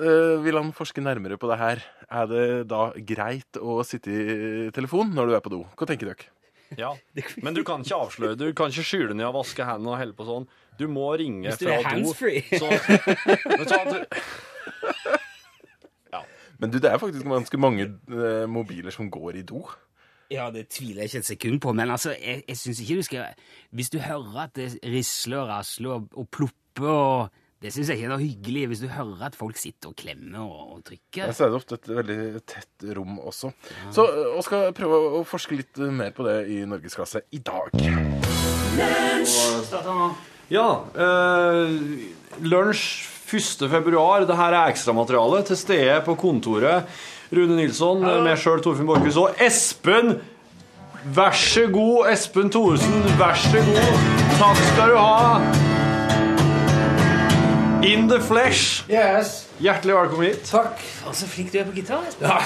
G: eh, vil han forske nærmere på det her. Er det da greit å sitte i eh, telefon når du er på do? Hva tenker dere?
C: Ja. Men du kan ikke avsløre, du kan ikke skyle ned og vaske hendene og helle på sånn. Du må ringe
B: Hvis du er
C: fra do.
B: handsfree.
C: Så, men sånn at du,
G: Men du, det er faktisk ganske mange eh, mobiler som går i do.
B: Ja, det tviler jeg ikke et sekund på, men altså, jeg, jeg syns ikke du skal Hvis du hører at det risler og rasler og, og plopper og Det syns jeg ikke er noe hyggelig hvis du hører at folk sitter og klemmer og, og
G: Ja,
B: trykker.
G: så er det ofte et veldig tett rom også. Så øh, vi skal prøve å forske litt øh, mer på det i norgesklasse i dag.
C: ja. Eh, lunsj 1. februar. Dette er ekstramateriale til stede på kontoret. Rune Nilsson, meg sjøl, Torfinn Borchhus og Espen. Vær så god, Espen Thoresen. Vær så god. Takk skal du ha. In the flesh.
E: Yes,
C: Hjertelig velkommen hit.
E: takk.
B: Og så flink du er på gitar, Espen.
E: Ja.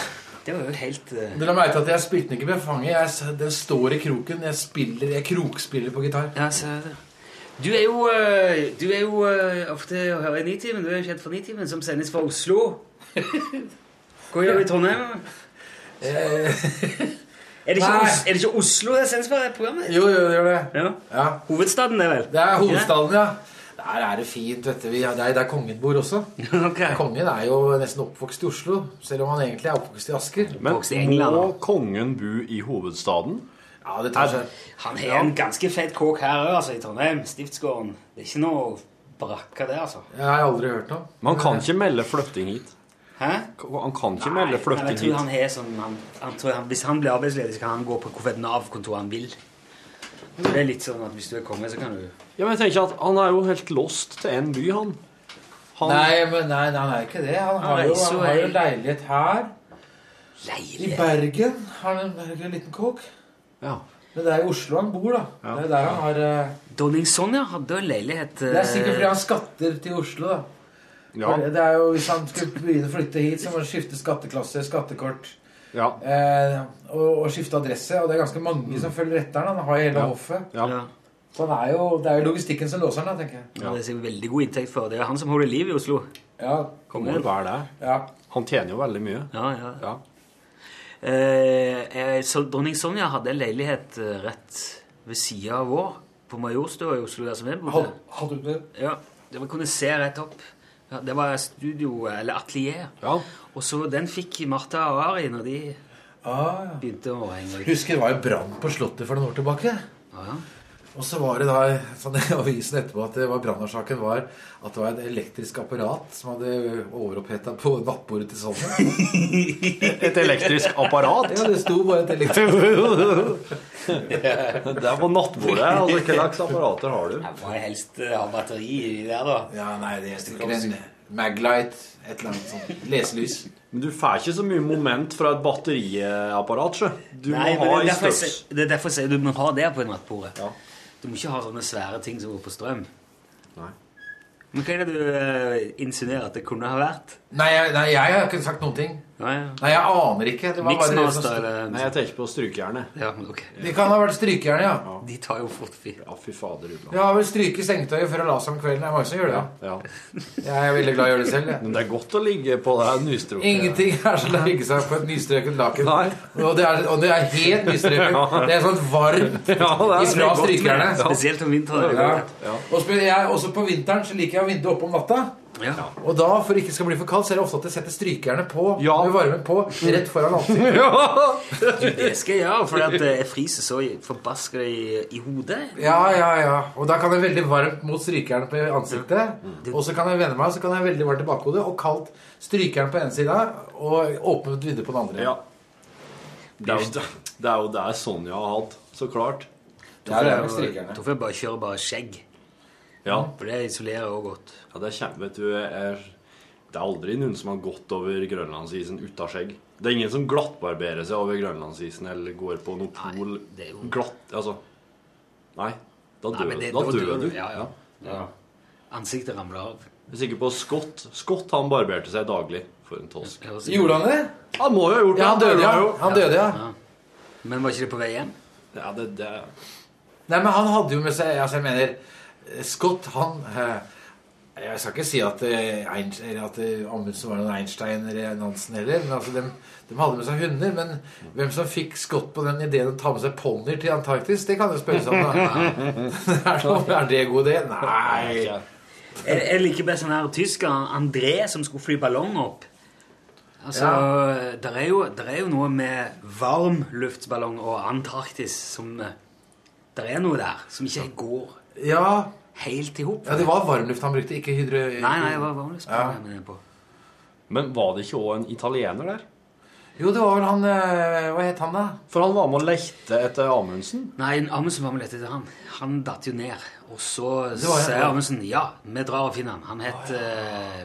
B: Det var jo helt eh,
E: Dere har merket at jeg spilte den ikke med fanget. Jeg, s- den står i kroken. Jeg spiller, jeg krokspiller på gitar.
B: Ja, så Du er jo, eh, du er jo eh, ofte å høre i Nitimen. Du er jo kjent for Nitimen, som sendes fra Oslo. Hva gjør du i Trondheim?
E: Eh,
B: Er det ikke,
E: Nei.
B: Os er det ikke Oslo det sendes fra, det programmet?
E: jo, jo, det gjør det.
B: Ja.
E: Ja.
B: Hovedstaden, det, vel?
E: Det er hovedstaden, ja. Der er det fint, vet du. Vi- Det er der kongen bor også.
B: Ok.
E: Kongen er jo nesten oppvokst i Oslo, selv om han egentlig er oppvokst i Asker.
C: Men
B: Vokst i England,
C: må kongen bo i hovedstaden?
E: Ja, det tar seg.
B: Han har en ganske fet kåk her òg, altså, i Trondheim. Stiftsgården. Det er ikke noe brakka det, altså.
E: Jeg har aldri hørt noe.
C: Man kan ikke melde flytting hit.
B: Hæ?
C: Han kan ikke
B: Nei,
C: melde
B: men
C: flytting
B: jeg tror han
C: hit.
B: har sånn han, han tror han, Hvis han blir arbeidsledig, så kan han gå på hvilket Nav-kontor han vil. Så det er litt sånn at Hvis du er konge, så kan du
C: Ja, men jeg tenker at Han er jo helt lost til én by, han. han
E: Nei, men nei, nei, han er ikke det. Han har jo, han har jo leilighet her. I
B: Leilighet
E: Bergen har han en, en liten kåk.
C: Ja.
E: Men det er i Oslo han bor, da. Det er der han har eh,
B: Dronning Sonja hadde jo leilighet eh,
E: Det er sikkert fordi han skatter til Oslo, da.
C: Ja.
E: For Det er jo, Hvis han skulle begynne å flytte hit, så må han skifte skatteklasse, skattekort
C: ja.
E: eh, og, og skifte adresse. Og det er ganske mange som følger etter han. Han har jo hele hoffet.
C: ja.
B: ja.
E: Så han er jo, det er jo logistikken som låser han, da, tenker jeg.
B: Ja, Det er sikkert veldig god inntekt for. Det er han som holder liv i Oslo.
E: Ja,
C: Må
B: Kongen.
C: jo være det.
E: ja.
C: Han tjener jo veldig mye.
B: Ja, ja.
C: Ja.
B: Eh, eh, så dronning Sonja hadde en leilighet eh, rett ved sida av vår, på Majorstua i Oslo. der som jeg bodde.
E: Hadde du det?
B: Ja, det var, kunne se rett opp. Ja, det var studio, eller atelier.
C: Ja.
B: Og så den fikk Martha og Ari når de
E: Ah, ja.
B: begynte å henge ut.
E: Husker det var jo brann på Slottet for noen år tilbake.
B: Ja, ja.
E: Og så var det da sånn i avisen etterpå at det var brannårsaken var at det var et elektrisk apparat som hadde overoppheta på nattbordet til Sonja.
C: Et elektrisk apparat.
E: Ja, det sto bare et elektrisk
C: det er på nattbordet. Altså, hva slags apparater har du?
B: Jeg får helst eh, ha batteri i der, da.
E: Ja, nei, det stikker en Maglite, et eller annet sånt. Leselys.
C: Men Du får ikke så mye moment fra et batteriapparat. sjø. Du
B: Nei,
C: må ha
B: men det, er derfor
C: i
B: jeg,
C: størrelse.
B: sier- det er derfor jeg sier du må ha det på nattbordet.
C: Ja.
B: Du må ikke ha sånne svære ting som går på strøm.
C: Nei.
B: Men hva er det du eh, insinuerer at det kunne ha vært?
E: Nei, jeg- nei, jeg har ikke sagt noen ting.
B: Ja, ja.
E: Nei, jeg aner ikke. Det, var bare det, som
B: Mixmaster
E: sto-
B: eller
C: Nei, jeg tenker på strykejernet.
B: Ja, men ok.
E: det kan ha vært strykejernet, ja.
B: De tar jo fort fyr.
C: Ja, fy fader. Ulla.
E: Jeg har vel stryket sengetøyet før jeg la seg om kvelden. Det er mange som gjør det.
C: Ja.
E: Jeg er veldig glad i å gjøre det selv. Jeg.
C: Men det er godt å ligge på det her nystrukne.
E: Ingenting er så legge seg på et nystrøket laken.
C: Nei.
E: Og det er, og det er helt nystrøket. Det er sånn varmt
C: Ja, det er
E: ifra strykerne.
B: Spesielt om vinteren.
E: Ja. Og spe- jeg- også på vinteren så liker jeg å ha vinduet oppe om natta.
K: Og da, for det ikke skal bli for kaldt, så er det ofte at jeg setter strykerne på med varmen på rett foran ansiktet.
B: Du, det skal jeg gjøre, for at eh, jeg fryser så forbaska i, i hodet.
K: Ja, ja, ja. Og da kan jeg veldig varmt mot strykeren på ansiktet. Og så kan jeg vende meg, så kan jeg veldig varmt i bakhodet og kaldt strykeren på ene sida og åpnet vindu på den andre.
C: Det er, jo, det er jo det Sonja har hatt, så klart.
B: Da får jeg- da får jeg bare kjøre bare skjegg.
C: Ja.
B: For det isolerer òg godt.
C: Ja, det kommer, vet du er, Det er aldri noen som har gått over grønlandsisen uten skjegg. Det er ingen som glattbarberer seg over grønlandsisen eller går på noe pol glatt Altså Nei. Da
B: Nei,
C: dør,
B: men det-
C: da
B: da
C: dør
B: dør
C: du.
B: du, ja, ja. Ansiktet ramler av.
C: Jeg er sikker på Scott. Scott han barberte seg daglig for en tosk.
K: Gjorde han det?
C: Han må jo ha gjort det.
K: Ja, han døde, ja. Han døde, ja.
B: Men var ikke det på vei hjem?
C: Ja, det, det
K: Nei, men han hadde jo med seg altså, Jeg mener, eh, Scott, han eh, Jeg skal ikke si at, eh, Einst- eller at eh, Amundsen var noen Einstein eller Nansen heller. Men altså, de, hadde med seg hunder. Men hvem som fikk Scott på den ideen å ta med seg ponnier til Antarktis, det kan jo spørres om. da. er, det, er det en god idé? Nei.
B: Jeg, jeg liker best den her tyskeren André som skulle fly ballong opp. Altså, der, er jo, der er jo noe med varm luftballong og Antarktis som eh, Der er noe der som ikke går
K: Ja.
B: helt i hop.
K: ja, det var varmluft han brukte, ikke hydro...
B: Nei, nei, det var varmluft.
K: Ja.
C: Men var det ikke òg en italiener der?
K: Jo, det var vel han eh, Hva het han, da?
C: For han var med og lekte etter Amundsen?
B: Nei, Amundsen var med dette til han. Han datt jo ned. Og så
E: Det var-
B: sier Amundsen ja, vi drar og finner han. Han het eh,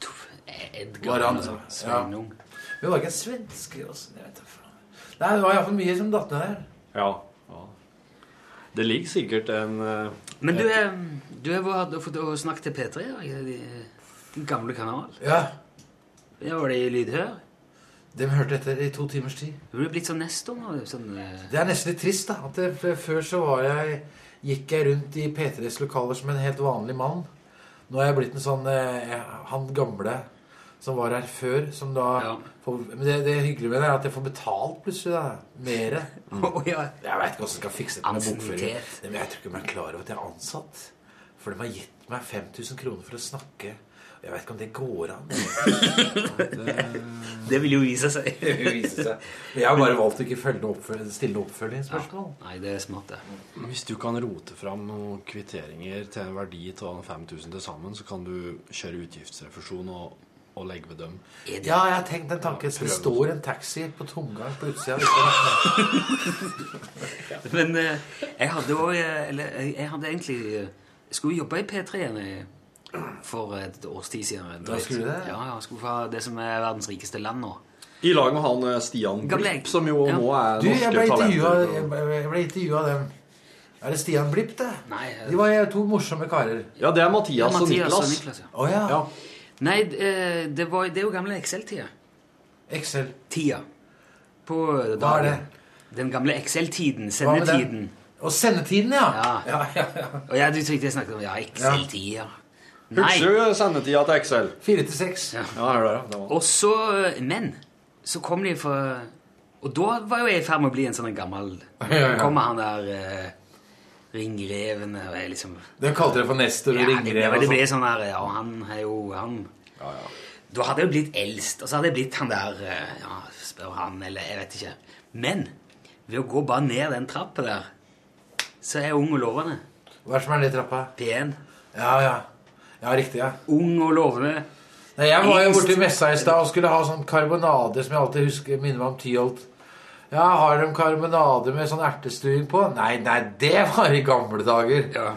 B: Tof- Edgar
K: Var han-
B: eller noe sånt.
K: ja.
B: Sveinung.
K: Vi var ikke svenske også. Jeg vet da faen. Nei, det var iallfall mye som datt ned der.
C: Ja. ja. Det ligger sikkert en eh,
B: Men du,
C: et-
B: er, du har vært og fått og snakket til P3 i dag, de- den gamle kanalen.
K: Ja.
B: Ja, var det i lydhør?
K: De hørte etter i to timers tid.
B: Du ble blitt sånn nestor nå. Sånn, eh,
K: Det er nesten litt trist, da. At det, f- før så var jeg, gikk jeg rundt i P3s lokaler som en helt vanlig mann. Nå er jeg blitt en sånn eh, han gamle som var her før, som da får, Men det, det hyggelige med det er at jeg får betalt plutselig, da. Mere. Jeg veit ikke åssen jeg skal fikse det med bokføring.
B: Ansiennitet.
K: Nei, Men jeg tror ikke de er klar over at jeg er ansatt. For de har gitt meg 5000 kroner for å snakke. Og Jeg veit ikke om det går an.
B: Det vil jo vise seg.
K: Det vil vise seg. Jeg har bare valgt å ikke følge noe oppføl- stille noe oppfølgingsspørsmål.
B: Nei, det er smart, det.
C: Hvis du kan rote fram noen kvitteringer til en verdi av 5000 til sammen, så kan du kjøre utgiftsrefusjon og, og legge ved dem.
K: Ja, jeg har tenkt den tanken. Det
C: prøv.
K: står en taxi på tomgang på utsida. hvis det er
B: Men eh, jeg hadde òg Eller jeg, jeg hadde egentlig eh, Jeg skulle jobbe i P3 igjen i- for et års tid siden.
C: Da skulle du det?
B: Ja, ja, jeg skulle fra det som er verdens rikeste land nå.
C: I lag med han eh, Stian
B: Gamle-
C: Blipp, som jo
B: Ja.
C: nå er
K: Du, jeg ble
C: norske talenter.
K: intervjuet- jeg ble- jeg ble intervjua av dem. Er det Stian Blipp, det?
B: Nei,
K: De var jo to morsomme karer.
C: Ja, det er
B: Ja, Mathias og Niklas, ja.
K: Å ja.
B: Nei, eh, det, var, det er jo gamle Excel-tida. Excel-tida. På Hva
K: er det?
B: Den gamle Excel-tiden.
K: Hva med den?
B: Sendetiden.
K: Og sendetiden, ja.
B: Ja. Og jeg, du tenkte jeg snakket om ja, Excel-tida. Nei.
C: Husker du sendetida til Excel?
K: Fire til seks.
B: Ja,
C: her er det, det var.
B: Og så eh, Men så kom de fra Og da var jo jeg i ferd med å bli en sånn gammel
K: Ja, ja, ja.
B: Kommer han der eh, Ringrevene og jeg liksom
K: Den kalte dere for Nestor og
B: Ja, det-
K: Ringrev
B: Det,
K: og
B: det ble
K: sånn.
B: sånn der, ja, han er jo han. Da hadde jeg jo blitt eldst, og så hadde jeg blitt han der eh, ja, Spør han, eller jeg vet ikke. Men ved å gå bare ned den trappa der, så er jeg ung og lovende.
K: Hva er det som er ned trappa?
B: P1.
K: Ja, ja. Ja, riktig, ja.
B: Ung og lovende.
K: Nei, jeg var jo
B: Engst.
K: borti messa i stad og skulle ha sånn karbonade som jeg alltid husker minner meg om Tyholt. Ja, har de karbonade med sånn ertestuing på? Nei, nei, det var i gamle dager.
B: Ja.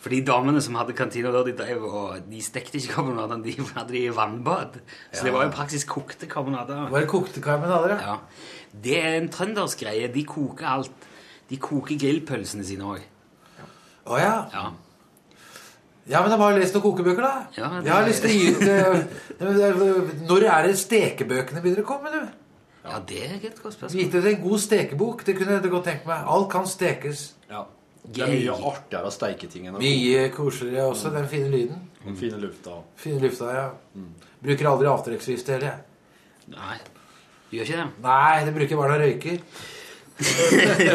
B: For de damene som hadde kantina da, de drev og de stekte ikke karbonader, de hadde de i vannbad. Så
K: Ja.
B: det var jo praksis kokte karbonader.
K: Var det kokte karbonader,
B: ja? Det er en trøndersk greie. De koker alt. De koker grillpølsene sine òg.
K: Å ja.
B: ja.
K: Ja, men de har jo lest noen kokebøker, da.
B: Ja, det-
K: Jeg har lyst til å gi ut eh, men det er- Når er det stekebøkene begynner å komme, du?
B: Ja, det er et godt spørsmål.
K: Gitt ut en god stekebok. Det kunne jeg godt tenkt meg. Alt kan stekes.
C: Ja. Det er mye artigere å steike ting enn å
K: Mye koseligere også. Den fine lyden.
C: Den fine lufta.
K: Fine lufta, ja. Bruker aldri avtrekksvifte heller, jeg.
B: Nei. Du gjør ikke det?
K: Nei, det bruker jeg bare når jeg røyker.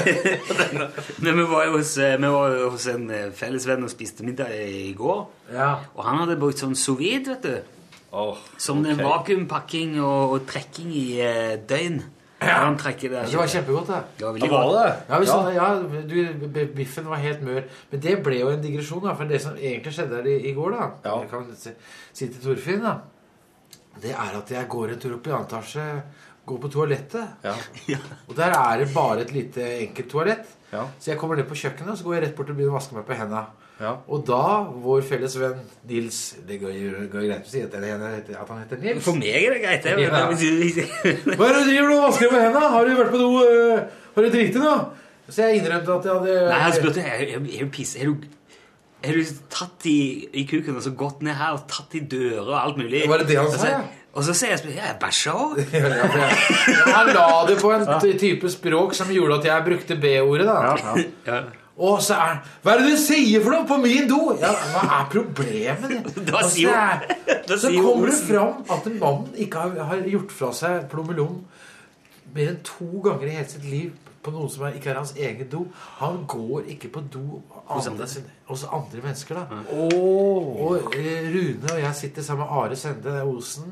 B: Men vi var jo hos, eh, vi var jo hos en eh, felles venn og spiste middag i går. Og han hadde brukt sånn sous vide, vet du. som den
L: ok.
B: vakuumpakking og, og trekking i eh, døgn. Ja. Han trekker det.
E: Det var kjempegodt, det.
B: Det var
E: Ja,
B: veldig
E: var
B: godt.
E: det? Ja, vi sa det, ja du, b- biffen var helt mør. Men det ble jo en digresjon, da, for det som egentlig skjedde her i, i går, da Jeg kan si, si til Torfinn, da Det er at jeg går en tur opp i annen etasje, går på toalettet. Og der er det bare et lite enkelt toalett. Så jeg kommer ned på kjøkkenet, og så går jeg rett bort og begynner å vaske meg på henda. Og da vår felles venn Nils Det går jo går jo greit å si at, det heter- at han heter Nils.
B: For meg er det greit, det.
E: Ja.
B: Men hvis du-
E: Hva er det du driver og vasker med hendene? Har du vært på do? øh, Har du driti nå? Så jeg innrømte at jeg hadde
B: Nei, han spurte er, er, er du piss? Er du, er du tatt i, i kuken og så gått ned her og tatt i dører og alt mulig?
E: Var det det han
B: Og så-
E: sa, ja?
B: Og så sier jeg spør- ja, jeg bæsja òg.
E: Men Han la det på en ty- type språk som gjorde at jeg brukte B-ordet, da. Og så er Hva er det du sier for noe på min do? Ja, hva er problemet? ditt?
B: Da
E: Og så
B: sier jo-
E: er-
B: da
E: Så
B: sier jo
E: kommer det
B: Olsen.
E: fram at en mann ikke har, har gjort fra seg plommelom mer enn to ganger i hele sitt liv på noe som er, ikke er hans egen do. Han går ikke på do
B: Hos
E: andre,
B: andre.
E: hos andre mennesker, da. Og eh, Rune og jeg sitter sammen med Are Sende Osen.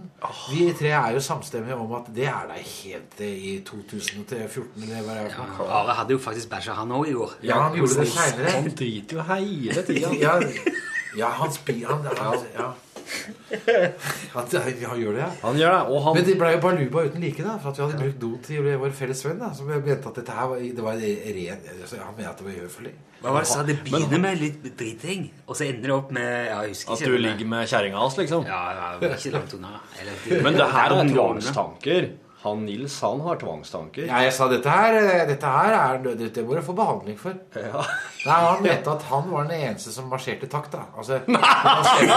E: Vi tre er jo samstemmige om at det er da helt eh, i 2014, eller hva det er. for noe.
B: Are hadde jo faktisk bæsja, han òg, i går. Sånn
E: Ja, han gjorde det seinere.
B: Han
E: driter jo hele
B: tiden.
E: ja, ja, han spyr han, han, ja. han, han gjør det, ja.
C: Han gjør det, og han
E: Men det ble jo baluba uten like, da. For at vi hadde brukt do til vår felles venn. da Som mente at dette her var, det var ren altså, Han mente at det var uhøflig.
B: Hva var det jeg sa? Det begynner med litt driting, og så ender det opp med ja, jeg husker
C: At
B: ikke
C: du
B: det, men-
C: ligger med kjerringa hans, liksom?
B: Ja, ja, det var ikke langt unna. Eller-
C: Men det her er
B: langt unna.
C: tvangstanker. Han Nils, han har tvangstanker.
E: Ja, jeg sa dette her eh, Dette her er nød- Dette må du få behandling for. Nei, Han mente at han var den eneste som marsjerte i takt, da. Altså, han ser-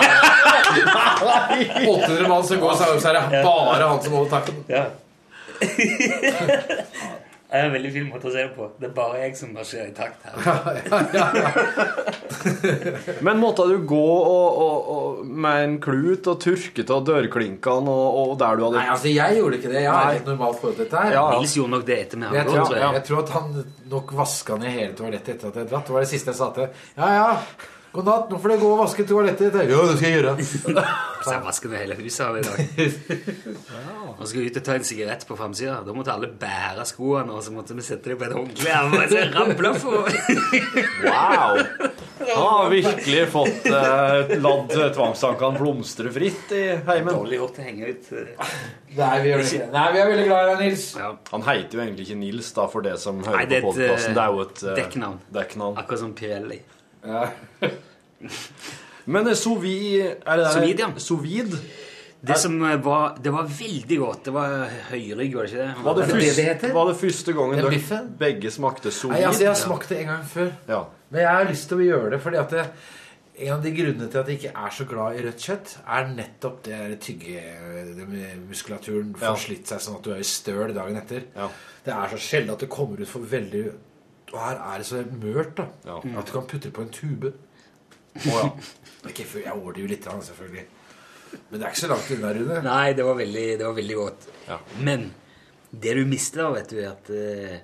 E: 800 mann som går sammen, så er det bare han som holder takten.
B: Det er en veldig fin måte å se det på. Det er bare jeg som marsjerer i takt her.
C: Men måtte du gå og, og, og, med en klut og tørke av dørklinkene og, og der du hadde
E: Nei, altså, jeg gjorde ikke det. Jeg har
C: Nei.
E: et normalt forhold til dette her.
C: Ja, ja.
B: Nils gjorde nok det etter meg.
E: Men jeg,
B: han
E: tror,
B: også,
E: jeg tror at han nok vaska ned hele toalettet etter at jeg dratt. Det var det siste jeg sa til Ja, ja, god natt, nå får du gå og vaske toalettet ditt. Ja, det skal jeg gjøre.
B: Så jeg vasker med hele huset av i dag. Nå skal vi ut og ta en sigarett på framsida. Da måtte alle bære skoene, og så måtte vi sette dem på et håndkle. Jeg var så ramla for
C: Wow! Han har virkelig fått eh, ladd tvangstankene blomstre fritt i heimen.
B: Dårlig gjort å henge ut. eh.
E: Nei, vi gjør det ikke. Nei, vi er veldig glad i deg, Nils.
C: Han heter jo egentlig ikke Nils, da, for det som hører
B: Nei, det er
C: på
B: et, eh,
C: podkasten. Det er jo et eh,
B: dekknavn.
C: dekknavn.
B: Akkurat som Pirelli.
C: Men eh, sous vide er det
B: Sous vide, ja.
C: Sous vide?
B: Det som eh, var Det var veldig godt. Det var høyrygg, var det ikke det?
C: Var det,
B: Men-
C: første, var det første gangen
E: Den
C: dere
E: biffen?
C: begge smakte sous
E: Nei, altså, jeg har
C: vide?
E: smakt det en gang før.
C: Ja.
E: Men jeg har lyst til å gjøre det, fordi at det, en av de grunnene til at jeg ikke er så glad i rødt kjøtt, er nettopp det der tygge det med muskulaturen får
C: Ja.
E: slitt seg sånn at du er i støl dagen etter. Det er så sjelden at det kommer ut for veldig Og her er det så mørt, da.
C: Ja.
E: At du kan putte det på en tube.
C: ja.
E: Ikke før- jeg overdriver litt, grann, selvfølgelig. Men det er ikke så langt unna, Rune.
B: Nei, det var veldig, det var veldig godt. Men det du mister da, vet du, er at eh,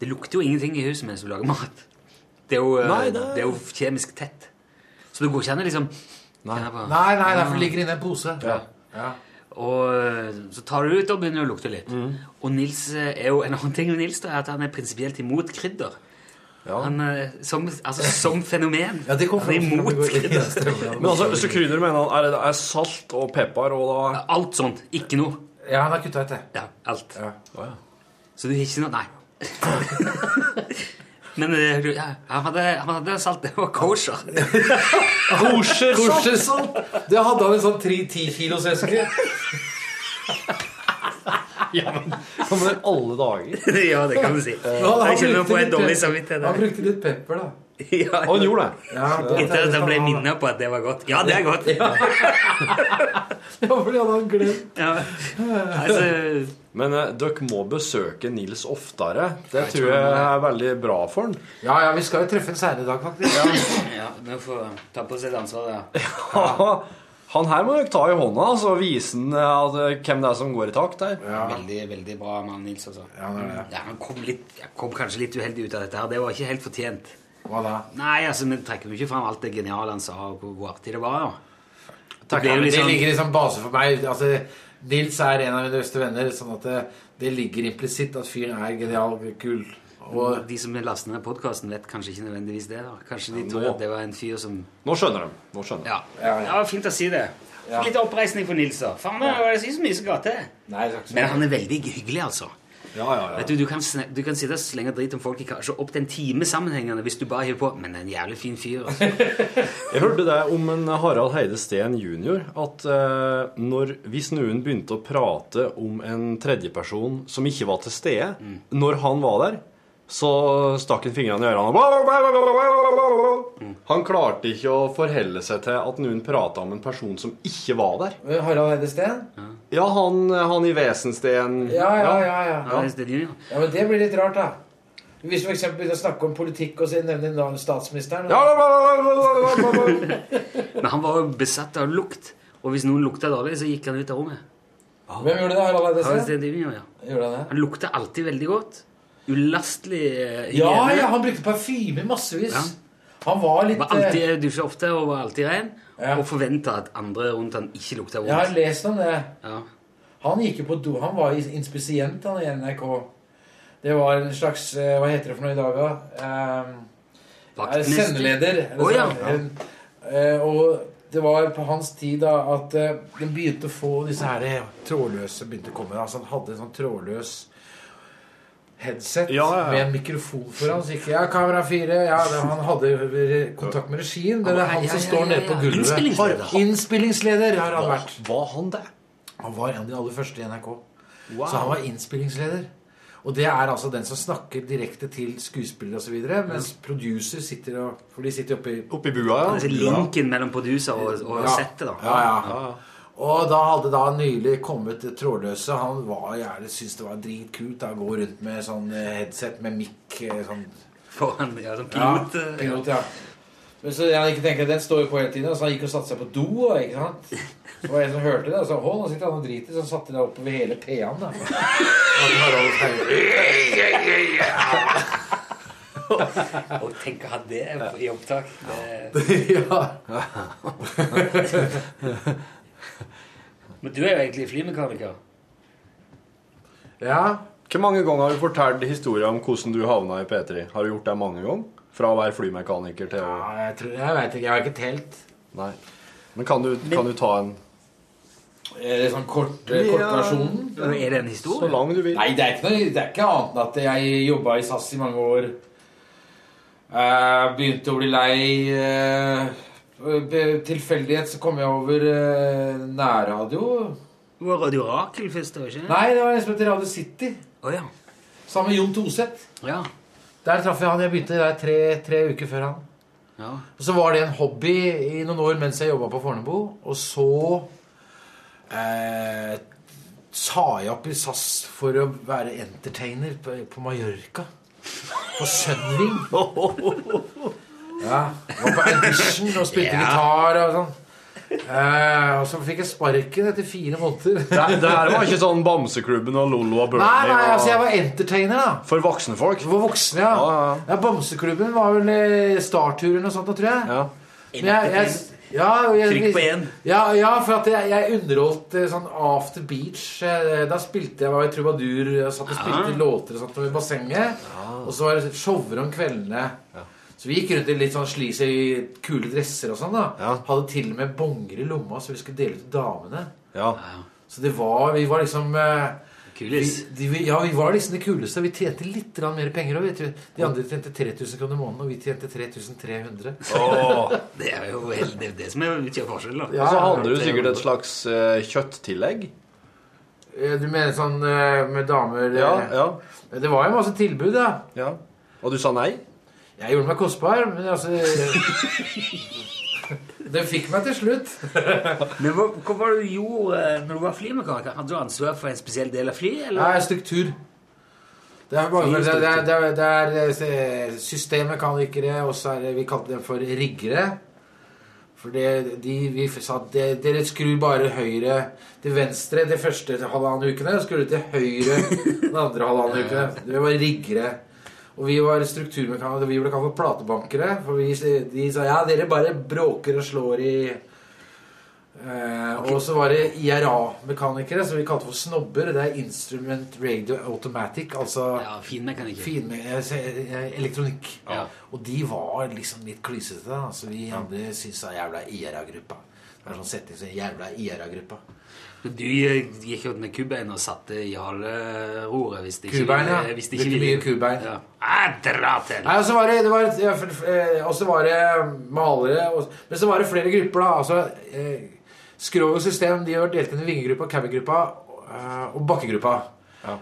B: det lukter jo ingenting i huset mens du lager mat. Det er jo, eh,
E: Nei,
B: det...
E: det-
B: er jo kjemisk tett. Så det går ikke an å liksom Nei, nei,
E: Nei, nei, nei, for det ligger inne en pose.
B: Ja. Og eh, så tar du det ut og begynner å lukte litt. Og Nils eh, er jo en annen ting med Nils da, er at han er prinsipielt imot krydder. Han, eh, som, altså, som fenomen. ja,
E: det kom
B: han er
E: fram-
B: imot krydder.
C: Men altså, så krydder mener han er, det- er salt og pepper og da
B: Alt sånt. Ikke noe.
E: Ja, han har kutta ut det.
B: Ja, alt. Så du har ikke noe Nei. Men eh, du, ja, han, hadde, han hadde salt. Det var kosher.
E: Korsersalt! Det hadde han en sånn tri- ti kilos eske.
C: Som i alle dager.
B: ja, det kan du si.
E: Men han- han
B: Jeg kjenner
E: brukte
B: på en
E: litt
B: dårlig
E: pep-
B: samvittighet.
E: Han brukte litt pepper, da.
B: Ja,
C: Han gjorde det.
E: Ja, det-
B: Etter at han ble minnet på at det var godt. Ja, det er godt.
E: Det var fordi han hadde glemt.
B: Altså,
C: Men eh, dere må besøke Nils oftere. Det
E: Jeg
C: tror
E: tror
C: jeg
E: det.
C: er veldig bra for han.
E: Ja, ja, vi skal jo treffe en seinere i dag, faktisk.
B: Ja, vi får ta på oss et ansvar, ja.
C: Ja. Han her må dere ta i hånda altså, og vise han, eh, at- hvem det er som går i takt der.
B: Veldig, veldig bra mann, Nils. Altså. Ja, han kom, litt, jeg kom kanskje litt uheldig ut av dette. her Det var ikke helt fortjent.
K: Hva da?
B: Nei, altså, Vi trekker jo ikke fram alt det geniale han sa, og hvor, hvor artig det var. da. ble
K: Takk,
B: jo
K: ja, men
B: litt sånn-
K: Det ligger liksom base for meg. Altså, Nils er en av mine beste venner, sånn at det, det ligger implisitt at fyren er genial kul. Og
B: de som laster ned podkasten, vet kanskje ikke nødvendigvis det. da Kanskje de
K: Ja,
B: tror
K: nå-
B: at det var en fyr som
C: Nå skjønner de. Nå skjønner de.
B: Ja, ja fint å si det. Få Litt oppreisning for Nils, da. Faen, det var ikke så mye som ga til. Men han er veldig hyggelig, altså.
K: Ja, ja,
B: Vet Du du kan, sne- du kan sitte og slenge dritt om folk i kanskje opp til en time sammenhengende hvis du bare hiver på 'Men en jævlig fin fyr', altså.
C: Jeg hørte det om en Harald Heide Steen jr. at eh, når, hvis noen begynte å prate om en tredjeperson som ikke var til stede, når han var der, så stakk han fingrene i ørene og bla, bla, bla, bla, bla, bla, bla, bla. Han klarte ikke å forholde seg til at noen prata om en person som ikke var der.
K: Harald Eide Steen?
C: Ja, han, han i Vesensten
K: Ja, ja, ja, ja.
B: ja.
K: Ja, men det blir litt rart, da. Hvis vi for eksempel begynner å snakke om politikk og så nevner navnet statsministeren
C: Ja,
B: Men han var jo besatt av lukt, og hvis noen lukta dårlig, så gikk han ut av rommet.
K: Hvem gjorde det, Harald Eide
B: Harald
K: Steen?
B: Steen Junior, ja.
K: Gjorde han det?
B: Han lukta alltid veldig godt. Ulastelig eh,
K: Ja,
B: hygiene.
K: ja, han brukte parfyme massevis.
B: Ja.
K: Han var litt eh,
B: Var alltid, dusja ofte og var alltid ren. Og forventa at andre rundt han ikke lukta
K: eh,
B: vondt.
K: Jeg har lest om det.
B: Ja.
K: Han gikk jo på do. Han var is- inspisient han i NRK. Det var en slags eh, Hva heter det for noe i dag, da? Eh, eh,
B: Vaktmester.
K: sendeleder. eller
B: Å, ja.
K: sånn. En- eh, og det var på hans tid da at eh, den begynte å få disse her eh, trådløse begynte å komme. da. Altså, han hadde en sånn trådløs headset
C: ja, ja.
K: med en mikrofon foran. Så gikk det, ja, kamera fire. Ja, det, han hadde eh, kontakt med regien. Det er han som står nede på gulvet.
C: Innspillingsleder.
K: Har- Innspillingsleder har han
C: Var-
K: vært.
C: Var han det?
K: Han var en av de aller første i NRK. Så han var innspillingsleder. Og det er altså den som snakker direkte til skuespillere osv., mens producer sitter og For de sitter oppe i
C: Oppi bua, ja.
B: Altså, linken mellom producer og, og
K: Ja.
B: settet, da.
K: Ja, ja. Og da hadde da nylig kommet det trådløse. Han var gjerne syntes det var dritkult da, å gå rundt med sånn eh, headset med mic eh, sånn
B: Foran, ja, som pilot.
K: Ja,
B: eh,
K: pilot, ja. Men så jeg ikke tenker, Den står jo på hele tiden. Så han gikk og satte seg på do. og- ikke sant? Det var en som hørte det. Og så, Å, nå sitter han og driter. Så han satte det oppover hele P-en. da.
B: Og tenk å ha det i opptak. Det... Men du er jo egentlig flymekaniker.
K: Ja.
C: Hvor mange ganger har du fortalt historier om hvordan du havna i P3? Har du gjort det mange ganger? Fra å være flymekaniker til å
K: Ja, jeg, tror, jeg vet ikke. Jeg har ikke telt.
C: Nei. Men kan du, kan du ta en
K: Er det sånn kort,
C: Ja.
K: kortversjonen?
B: Er det en historie?
C: Så lang du vil.
K: Nei, det er ikke, noe, det er ikke annet enn at jeg jobba i SAS i mange år. Eh, begynte å bli lei. eh, ved tilfeldighet så kom jeg over eh, nærradio.
B: Det var Radio Rakel først, da, ikke
K: Nei, det var en som het Radio City.
B: Å ja.
K: Sammen med Jon Toseth.
B: Ja.
K: Der traff jeg han. Jeg begynte der tre, tre uker før han.
B: ja.
K: Og så var det en hobby i noen år mens jeg jobba på Fornebu. Og så eh, sa jeg opp i SAS for å være entertainer på, på Mallorca. På Sunring. Ja, var på audition og spilte
B: Oh. Ja.
K: gitar og sånn. Eh, og så fikk jeg sparken etter fire måneder.
C: Det, det her var ikke sånn Bamseklubben og Lollo og Bernie
K: Nei, nei,
C: og-
K: altså jeg var entertainer, da.
C: For voksne folk.
K: For voksne, ja.
C: Ja,
K: ja,
C: ja,
K: Bamseklubben var vel eh, startturen og sånt, da, tror jeg.
C: Ja.
K: Men jeg, jeg, ja, jeg,
B: Trykk på én.
K: Ja, ja, for at jeg, jeg underholdt eh, sånn After Beach. eh, Da spilte jeg var i trubadur og satt og spilte låter og sånt i bassenget. Og så var det shower om kveldene. Så vi gikk rundt i litt sånn slis i kule dresser og sånn. da Hadde til og med bonger i lomma, så vi skulle dele ut til damene.
C: ja.
K: Så det var Vi var liksom eh,
B: Kulis.
K: Vi, de, vi- ja, vi var liksom de kuleste. Vi tjente litt grann mer penger òg, vet du. De andre tjente 3000 kroner i måneden, og vi tjente 3300.
B: Det er jo helt, det, er det som er utgjør forskjellen, da.
K: Ja.
C: Og så hadde du sikkert et slags eh, kjøtttillegg.
K: Eh, Du mener sånn eh, med damer eh,
C: Ja, ja,
K: Det var jo masse tilbud, da.
C: ja. Og du sa nei?
K: Jeg gjorde meg kostbar, men altså Den fikk meg til slutt.
B: Men hva, hva var det du gjorde eh, når du var flymekaniker? Hadde du ansvar for en spesiell del av flyet,
K: Det
B: eller?
K: er struktur. Det er, mange, det, er, det, er, det er eh, systemmekanikere, og så er det vi kalte det for riggere. For det, de, vi sa at det, dere skrur bare høyre til venstre de første halvannen ukene. Og skrur til høyre den andre halvannen ukene. Dere var riggere. Og vi var strukturmekanikere. Vi ble kalt for platebankere. For vi, de sa ja, dere bare bråker og slår i Eh, Og så var det IRA-mekanikere, som vi kalte for snobber. Det er Instrument Radio Automatic. Altså ja, finmekanikere. eh, elektronikk. Og de var liksom litt klysete. da. Så vi andre syntes da jævla IRA-gruppa. Det var en sånn setning som jævla IRA-gruppa.
B: Du eh, gikk jo med kubbein og satte i haleroret hvis det ikke
K: Kubein, ja.
B: Hvis det ikke
K: Brukte mye
B: ville.
K: kubein.
B: Ja. Ah, dra til!
K: Nei, og så var det, det var, ja, for- for- eh, og så var det malere og, Men så var det flere grupper, da. Altså, eh, Skrog og System de var delt inn i vingegruppa, cabbygruppa eh, og bakkegruppa.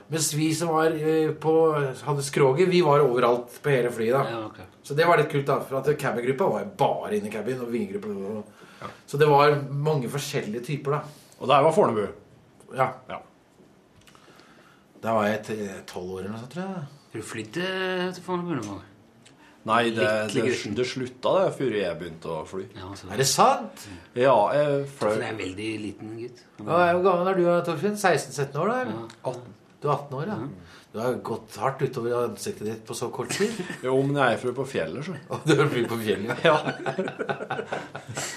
K: Mens vi som var eh, på, hadde skroget, vi var overalt på hele flyet. da Så det var litt kult, da. For at cabbygruppa var jo bare inne i cabin. Og vingegruppa og, Så det var mange forskjellige typer, da.
C: Og der var Fornebu.
K: Ja. Da var jeg t- tolv år eller noe sånt, tror jeg.
B: Har du flydd eh, til Fornebu noen gang?
C: Nei, det, det,
B: Lykkelig
C: det slutta det før jeg begynte å fly.
K: Er det sant?
C: Ja, jeg fløy
B: Torfinn er en veldig liten gutt.
K: Hva er- Hvor gammel er du, Torfinn? 16-17 år, da? eller? 18. Du er 18 år, ja. Du har gått hardt utover ansiktet ditt på så kort tid.
C: Jo, men jeg er fra på fjellet, så.
K: Og du er fly på fjellet?
C: Ja.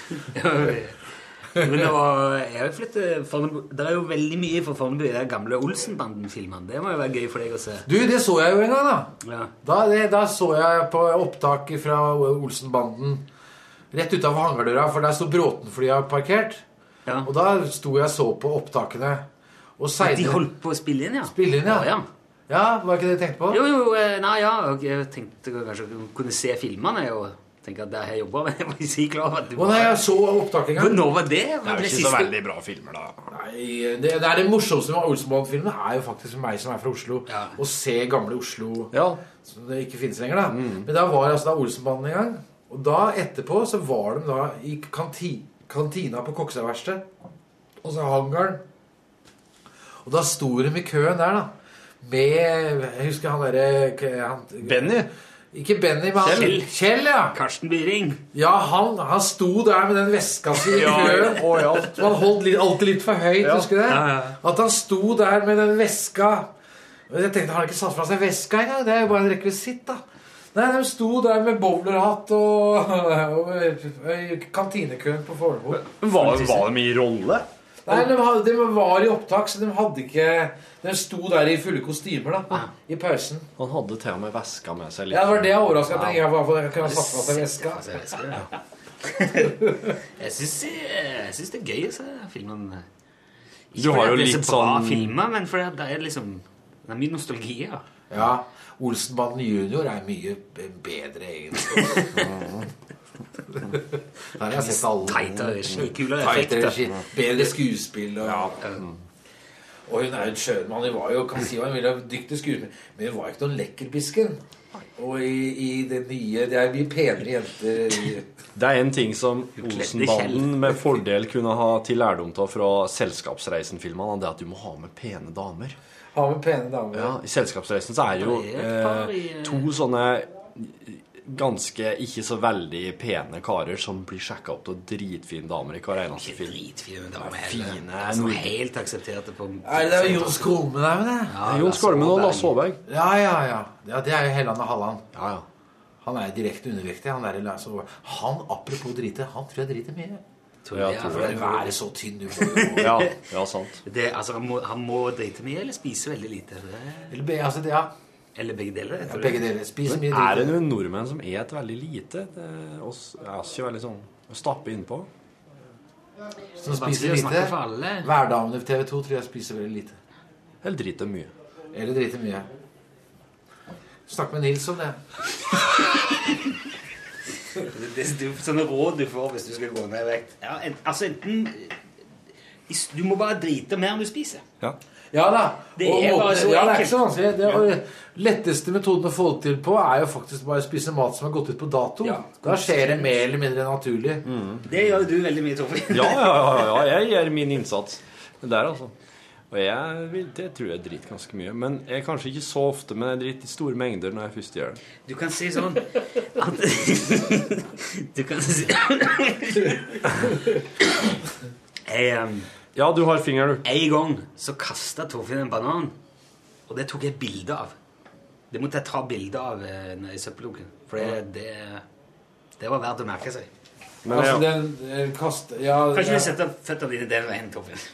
B: Men det var, jeg flyttet Fornebu. Det er jo veldig mye fra Fornebu i den gamle Olsenbanden-filmen. Det må jo være gøy for deg å se.
K: Du, det så jeg jo en gang, da.
B: Ja.
K: Da, det, da så jeg på opptak fra Olsenbanden rett utafor hangardøra, for der sto Bråten-flya parkert. Og da sto jeg og så på opptakene. Og
B: Men
K: seinere
B: De holdt på å spille inn, ja.
K: Spille inn, ja.
B: Å, ja.
K: Ja, var ikke det jeg tenkte på?
B: Jo, jo, eh, nei, ja. og Jeg tenkte kanskje jeg kunne se filmene og tenke at det har jeg jobba med. Jeg var ikke klar over at du
K: Å nei, jeg så opptaket en gang.
B: Men når var det?
K: Det
B: Var det siste?
C: bra filmer, da.
K: Nei, det, det er det morsomste med Olsenband-filmen er jo faktisk for meg som er fra Oslo, å se gamle Oslo som det ikke finnes lenger. da Men da var altså da Olsenbanden i gang. Og da etterpå så var de da i kanti, kantina på Kokstadverkstedet. Og så hangaren. Og da sto de i køen der, da. Med Jeg husker han derre han-
C: Benny?
K: Ikke Benny, men han,
C: Kjell.
K: Kjell, ja.
B: Karsten Byring.
K: Ja, han, han sto der med den veska si i
C: Ja,
K: køen.
C: å, ja.
K: Som han holdt litt, alltid litt for høyt,
C: Ja.
K: husker du det?
C: Ja, ja.
K: At han sto der med den veska Og Jeg tenkte, har han ikke satt fra seg veska engang? Det er jo bare en rekvisitt, da. Nei, de sto der med bowlerhatt og, og, og kantinekøen på Fornebu.
C: Var, var de i rolle?
K: Nei, de, hadde, de var i opptak, så de hadde ikke De sto der i fulle kostymer, da. I pausen.
C: Han hadde til og med veska med seg. litt.
K: Ja, det var det jeg overraska at jeg
C: Ja.
K: ikke kunne ha satt fra seg veska.
B: Jeg syns, jeg syns det er gøy å se filmene. Ikke
C: Du
B: fordi
C: har jo
B: at det er
C: litt
B: så bra
C: sånn-
B: filmer, men fordi at det er liksom Det er mye nostalgi, ja.
K: Ja, Olsenbanden junior er mye b- bedre, egentlig. Der har jeg sett alle.
B: Tightere regi, kulere
K: Mm. Tightere
B: effekter.
K: regi, Bedre skuespill og Mm. Og hun er jo en skjønnmann. Hun var jo kan si hva hun ville, dyktig skuespiller, men hun var jo ikke noen lekkerbisken. Og i, i det nye Det er mye penere jenter i-
C: Det er en ting som
K: kledde
C: Olsenbanden
K: kjell.
C: med fordel kunne ha til lærdom av fra Selskapsreisen-filmene, det er at du må ha med pene damer.
K: Ha med pene damer.
C: Ja, I Selskapsreisen så er det jo
K: Det er et par
C: eh,
K: i, eh,
C: to sånne eh, ganske ikke så veldig pene karer som blir sjekka opp av dritfine damer i hver eneste film.
B: Dritfine damer.
C: Fine,
B: Som er helt aksepterte på
K: Er det der Jon Skolmen er med det?
C: Ja, Jon Skolmen og Lasse Håberg.
K: Ja, ja, ja. ja. Det er jo Helland og Halland.
C: Ja, ja.
K: Han er jo direkte undervektig. Han, der Lasse Håberg. han apropos drite, han tror jeg driter mye.
B: Tror jeg,
K: Ja, for
B: ja.
K: det å være så tynn du får jo-
C: Ja, ja, sant.
B: Det, altså, han, må, han må drite mye eller spise veldig lite. Det-
K: Eller, be- altså, det- ja.
B: Eller begge deler. jeg tror
K: begge
B: det.
K: deler. Spis
C: Men
K: mye
C: er det
K: drite.
C: noen nordmenn som et veldig lite? Det er oss er oss ikke veldig sånn å stappe innpå.
K: Som
C: Det er
K: spiser
C: vanskelig å
K: lite.
C: snakke for alle.
K: Hverdamene på TV2 tror jeg spiser veldig lite.
C: Eller driter mye.
K: Eller driter mye. Snakk med Nils om det.
B: Det- det- det er Sånne råd du får hvis du skal gå ned i vekt. Ja, en, altså enten i s- Du må bare drite mer enn du spiser.
C: Ja.
K: Ja da.
B: Det
K: Og
B: er
K: måten-
B: bare så
K: ja, det er
B: enkelt.
K: ikke så vanskelig. Det og letteste metoden å få det til på, er jo faktisk bare å spise mat som har gått ut på dato. da skjer det mer eller mindre naturlig.
B: Det gjør jo du veldig mye, Torfinn.
C: Ja, ja, ja, ja, jeg gjør min innsats der, altså. Og jeg vil, det tror jeg driter ganske mye. Men jeg kanskje ikke så ofte, men jeg driter i store mengder når jeg først gjør det.
B: Du kan si sånn at Du kan si jeg,
C: Ja, du har fingeren, du.
B: En gang så kasta Torfinn en banan, og det tok jeg bilde av. Det måtte jeg ta bilde av eh, nede i søppeldunken, for det, det, det var verdt å merke seg.
E: altså, den,
K: eh,
E: den kast... Ja,
B: kan ikke
E: ja.
B: du sette føttene dine den veien, Torfinn?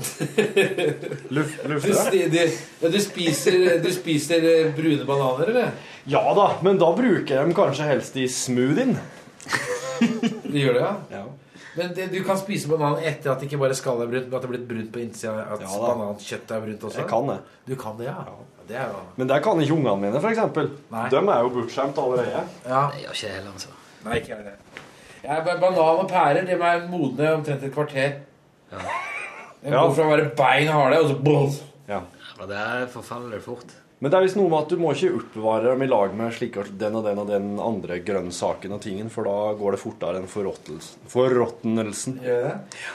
E: Du, sti- du, ja, du, spiser, du spiser eh, brune bananer, eller?
C: Ja da, men da bruker jeg dem kanskje helst i smoothien.
E: Du gjør det, ja? Men det, du kan spise banan etter at det ikke bare skallet er brunt, men at det er blitt brunt på innsida? At
C: Ja da.
E: banankjøttet er brunt også?
C: Jeg kan det.
E: Du kan det, ja? ja. Det er jo
C: Men der kan ikke ungene mine, f.eks. De er jo bortskjemt allerede.
E: Ja.
B: Det gjør ikke jeg heller, altså.
E: Nei, ikke jeg det. Ja, ba- banan og pærer de er modne omtrent et kvarter. De
C: Ja.
E: går fra å være bein harde, og så boom!
C: Ja.
B: Og der forfaller det fort.
C: Men det er visst noe med at du må ikke oppbevare dem i lag med slik at den og den og den andre grønnsaken og tingen, for da går det fortere enn forråttelsen- forråtnelsen.
E: Gjør det?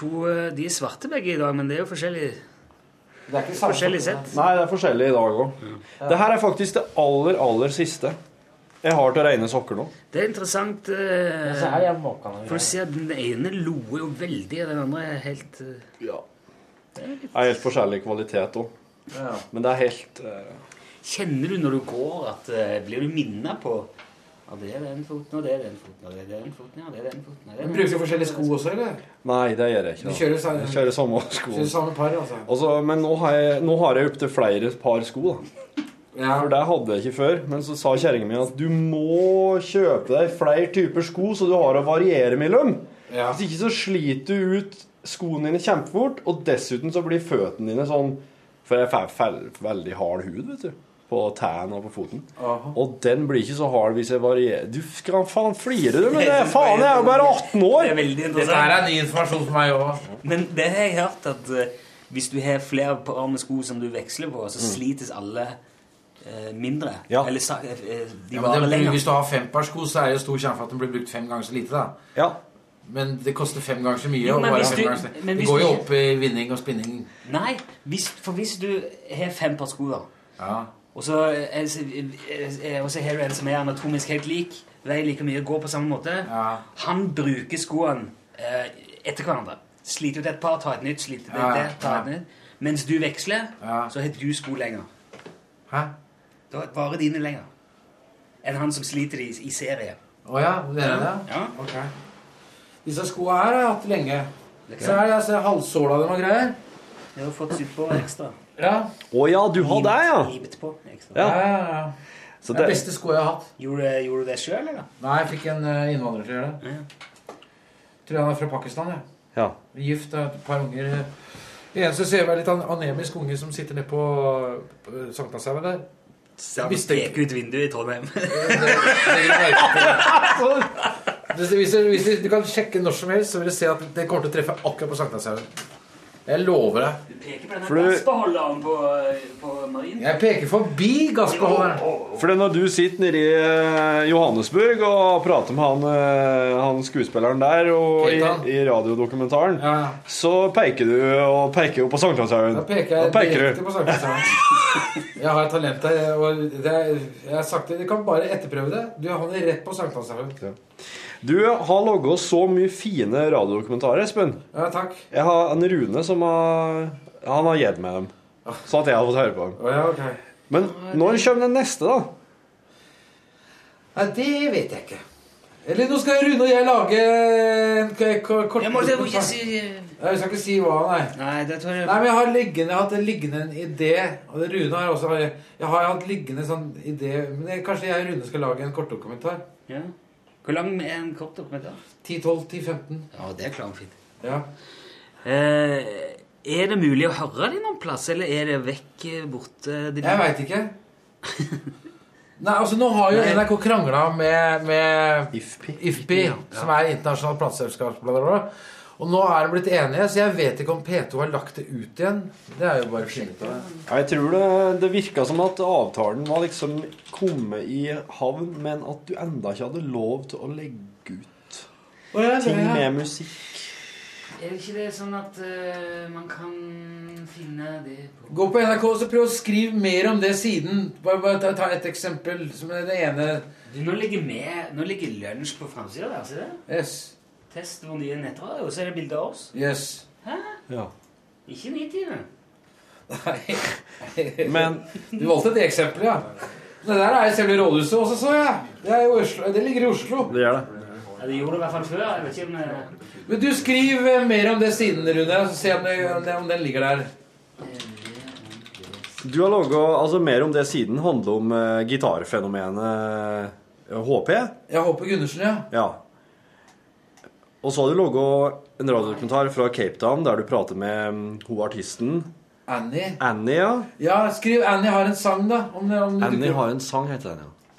B: To, eh, de er svarte begge i dag, men det er jo forskjellig.
E: Det er
B: forskjellig sett.
C: Nei, det er forskjellig i dag òg. Det her er faktisk det aller, aller siste jeg har til rene sokker nå.
B: Det er interessant. eh, for å se at den ene loer jo veldig, og den andre er helt eh,
C: Det er helt forskjellig kvalitet òg.
B: Ja.
C: Men det er helt eh,
B: Kjenner du når du går at eh, Blir du minnet på Ja, det er den foten, og det er den foten, og det er den foten, ja, det er den foten og det er den
E: Men Bruker du
B: foten.
E: forskjellige sko også, eller?
C: Nei, det gjør jeg ikke.
E: Du
C: da.
E: kjører samme-
C: jeg kjører samme sko.
E: Kjører samme par, altså?
C: Altså, men nå har jeg, nå har jeg opptil flere par sko, da. For det hadde jeg ikke før. Men så sa kjerringa mi at du må kjøpe deg flere typer sko, så du har å variere mellom.
E: Ja.
C: Hvis ikke så sliter du ut skoene dine kjempefort, og dessuten så blir føttene dine sånn For jeg får fel- veldig hard hud, vet du. På tærne og på foten.
E: Aha.
C: Og den blir ikke så hard hvis jeg varierer Du skal faen flire, du, men det er faen, jeg er jo bare 18 år!
B: Det er veldig interessant.
E: Dette her er ny informasjon for meg òg.
B: Men det har jeg hørt at eh, hvis du har flere par med sko som du veksler på,
E: Mm.
B: så slites alle eh, mindre. Eller sa- eh, eh, de
E: Ja, men
B: varer
E: det,
B: lenger.
E: hvis du har fem par sko, så er det jo stor sjanse for at den blir brukt fem ganger så lite. da Men det koster fem ganger så mye.
B: Jo,
E: og
B: men
E: bare
B: hvis
E: fem
B: du-
E: ganger så-
B: men
E: det
B: hvis
E: går jo
B: du-
E: opp i vinning og spinning.
B: Nei, hvis, for hvis du har fem par sko, da,
E: Ja.
B: og så eh, er- er- er- eh, og så har du en som er anatomisk helt lik, veier like mye, går på samme måte Han bruker skoene eh, etter hverandre. Sliter ut et par, tar et nytt, sliter ut
E: Ja,
B: et der, tar et
E: ja.
B: nytt. Mens du veksler, så har du sko lenger.
E: Hæ?
B: Da varer dine lenger enn han som sliter i, i serie.
E: Å ja, du mener det?
B: Ja.
E: Ok. Disse skoene her har jeg hatt lenge.
B: Det
E: Så her er altså halvsåla dem og greier.
B: Jeg har fått sydd på ekstra.
E: Ja.
C: Å ja, du har det, ja!
B: Livet på ekstra.
E: Ja, ja, ja.
C: Så
E: det er
C: det-
E: beste sko jeg har hatt.
B: Gjorde, gjorde du det sjøl, eller?
E: Nei, jeg fikk en eh, innvandrer til å gjøre det. Tror han er fra Pakistan, jeg.
C: Ja.
E: Gift og et par unger. Det eneste ser jeg er litt an- anemisk unge som sitter nede på eh, Sankthanshaugen der.
B: Så han peker ut vinduet i Trondheim.
E: Hvis, hvis, hvis du, du kan sjekke når som helst, så vil du se at det kommer til å treffe akkurat på Sankthanshaugen. Jeg lover deg.
B: Peker på
C: For du-
B: denne gassbeholderen på, eh, på marinen.
E: Jeg peker forbi gassbeholderen.
C: For når du sitter nede i eh, Johannesburg og prater med han, eh, han skuespilleren der og i,
E: Ketan.
C: i radiodokumentaren, så peker du og peker jo på Sankthanshaugen.
E: Da peker jeg
C: Da peker
E: direkte
C: du.
E: på Sankthanshaugen. Jeg har et talent der. Og det er, jeg har sagt det, Du kan bare etterprøve det. Du havner rett på Sankthanshaugen.
C: Du har laga så mye fine radiodokumentarer, Espen.
E: Ja, takk.
C: Jeg har en Rune som har Han har gitt meg dem, sånn at jeg har fått høre på dem.
E: Ah. Å, ja, ok.
C: Men når kommer den neste, da?
E: Nei, det vet jeg ikke. Eller nå skal Rune og jeg lage en k- k- kort
B: Jeg må, jeg må ikke si
E: Nei, vi skal ikke si hva, nei.
B: Nei, det tror jeg
E: Nei, men jeg har, liggende, jeg har hatt liggende en idé. Og det Rune har også Jeg har hatt liggende en sånn idé Men det, kanskje jeg og Rune skal lage en kortdokumentar?
B: Ja. Hvor lang er en kort dokumentar?
E: 10-12-10-15.
B: Ja, det klarer han fint.
E: Ja.
B: Eh, er det mulig å høre det noen plass, eller er det vekk eh, borte?
E: Jeg veit ikke. Nei, altså Nå har jo
B: Nei.
E: NRK krangla med, med
C: IFPI,
B: ja.
E: som er internasjonalt plateselskap. bla, bla, bla. Og nå er de blitt enige, så jeg vet ikke om P2 har lagt det ut igjen. Det er jo bare å finne ut av det.
C: Ja, Jeg tror det, det virka som at avtalen var liksom kommet i havn, men at du enda ikke hadde lov til å legge ut
E: ja, det,
C: ting
E: ja.
C: med musikk.
B: Er det ikke det sånn at eh, man kan finne det på
G: Gå på NRK og så prøv å skrive mer om det siden. Bare, bare ta, ta et eksempel. Som er det ene
B: Du, Nå ligger, med, nå ligger lunsj på framsida der, ser du?
G: Yes.
B: Test vår nye nettradio, og så er det bilde av oss.
G: Yes.
B: Hæ?
C: Ja.
B: Ikke nitiden.
G: Men Du valgte det eksempelet, ja. Det der er jo selve rådhuset også, så jeg. Det, er jo Oslo. det ligger i Oslo.
C: Det gjør det.
B: Ja, det gjorde det i hvert fall før. Jeg vet ikke om eh,
G: Men du, skriv eh, mer om det siden, Rune. Så se om, det, om, det, om den ligger der.
C: Du har laga altså, mer om det siden handler om eh, gitarfenomenet eh, HP.
G: Jeg håper Gundersen, ja.
C: Ja. Og så har du laga en radiodokumentar fra Cape Town der du prater med mm, hun artisten
G: Annie.
C: Annie, ja.
G: Ja, skriv 'Annie har en sang', da. Om det, om det
C: Annie
G: dukker opp.
C: har en sang, heter den, ja.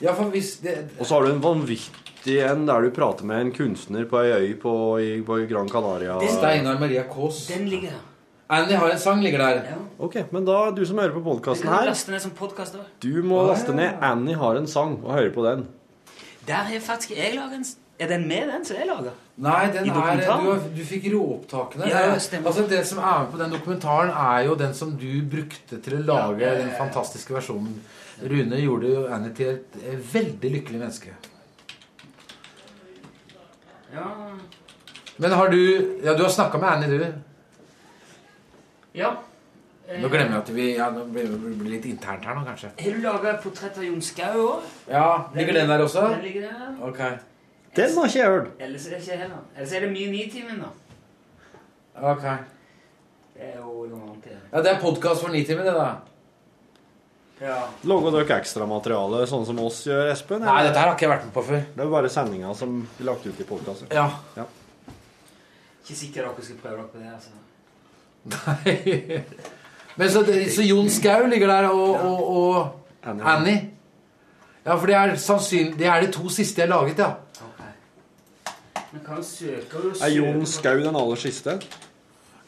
G: Ja, for hvis det,
C: Og så har du en vanvittig en der du prater med en kunstner på ei øy på, i, på Gran Canaria.
G: det Steinar Maria Kaas.
B: Den ligger der.
G: Annie har en sang ligger der.
C: Ok, men da, du som hører på
B: Det
C: podkasten
B: kan du
C: her,
B: laste ned som podkast òg.
C: du må laste ned 'Annie har en sang' og høre på den.
B: Der har faktisk jeg laget en s- Er den med, den som jeg lager?
G: Nei, den
B: I
G: er,
B: dokumentaren?
G: du, har- du fikk råopptakene.
B: Ja,
G: Det er- altså, det som er med på den dokumentaren, er jo den som du brukte til å lage
B: Ja.
G: den fantastiske versjonen. Rune gjorde jo Annie til et eh, veldig lykkelig menneske.
B: Ja.
G: Men har du Ja, du har snakka med Annie, du.
B: ja. Eh,
G: Nå glemmer jeg at vi ja, nå blir det blir litt internt her nå, kanskje.
B: Har du laga et portrett av Jon Skau òg?
G: Ja, Ligger den der også?
B: Den ligger der.
G: Ok.
C: Den har ikke jeg hørt.
B: Ellers er det ikke heller. Ellers er det mye Nitimen, da.
G: Ok.
B: Det er jo noe annet. det.
G: Ja, det er podkast for Nitimen, det, da.
B: Ja.
C: Lager dere ekstramateriale sånn som oss gjør, Espen?
G: Nei, dette her har ikke jeg vært med på før.
C: Det er bare sendinga som blir lagt ut i podkasten.
G: Ja.
B: Ikke sikkert dere skal prøve dere på det. altså.
G: Men så, det, så Jon Skau ligger der, og, og, og Annie. Ja, for det er sannsynlig Det er de to siste jeg laget, ja.
B: Men kan søke og
C: Er Jon
B: søke
C: Skau den aller siste?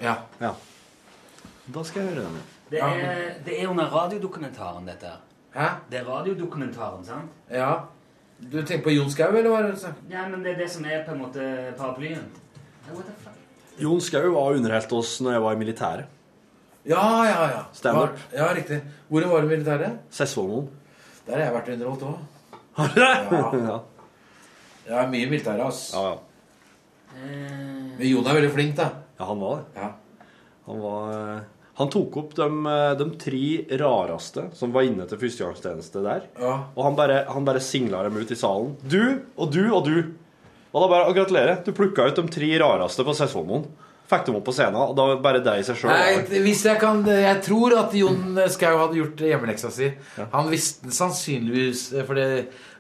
G: Ja.
C: Da skal jeg høre den.
B: det er, det er under radiodokumentaren, dette her.
G: Hæ?
B: Det er radiodokumentaren, sant?
G: Ja. Du tenker på Jon Skau, eller hva er det? du sa?
B: Ja, men det er det som er på en måte paraplyen. Ja, what the fuck?
C: Jon Skau var underholdt oss når jeg var i militæret.
G: Ja, ja, ja.
C: Stand-up.
G: Var- Ja, riktig. Hvor var du i militæret?
C: Sessvollmoen.
G: Der har jeg vært underholdt òg.
C: Ja.
G: Jeg er mye i militæret, ass.
C: Ja, ja.
G: Men Jon er veldig flink, da.
C: Ja, han var det.
G: Ja.
C: Han var eh, Han tok opp de, eh, de tre rareste som var inne til førstegangstjeneste der.
G: Ja.
C: Og han bare, han bare singla dem ut i salen. Du og du og du. Og da bare, og Gratulerer. Du plukka ut de tre rareste på Sessvollmoen. Fikk dem opp på scenen. Og da var bare deg i seg sjøl.
G: Nei, hvis jeg kan Jeg tror at Jon Skau hadde gjort hjemmeleksa si. Han visste sannsynligvis eh, For det,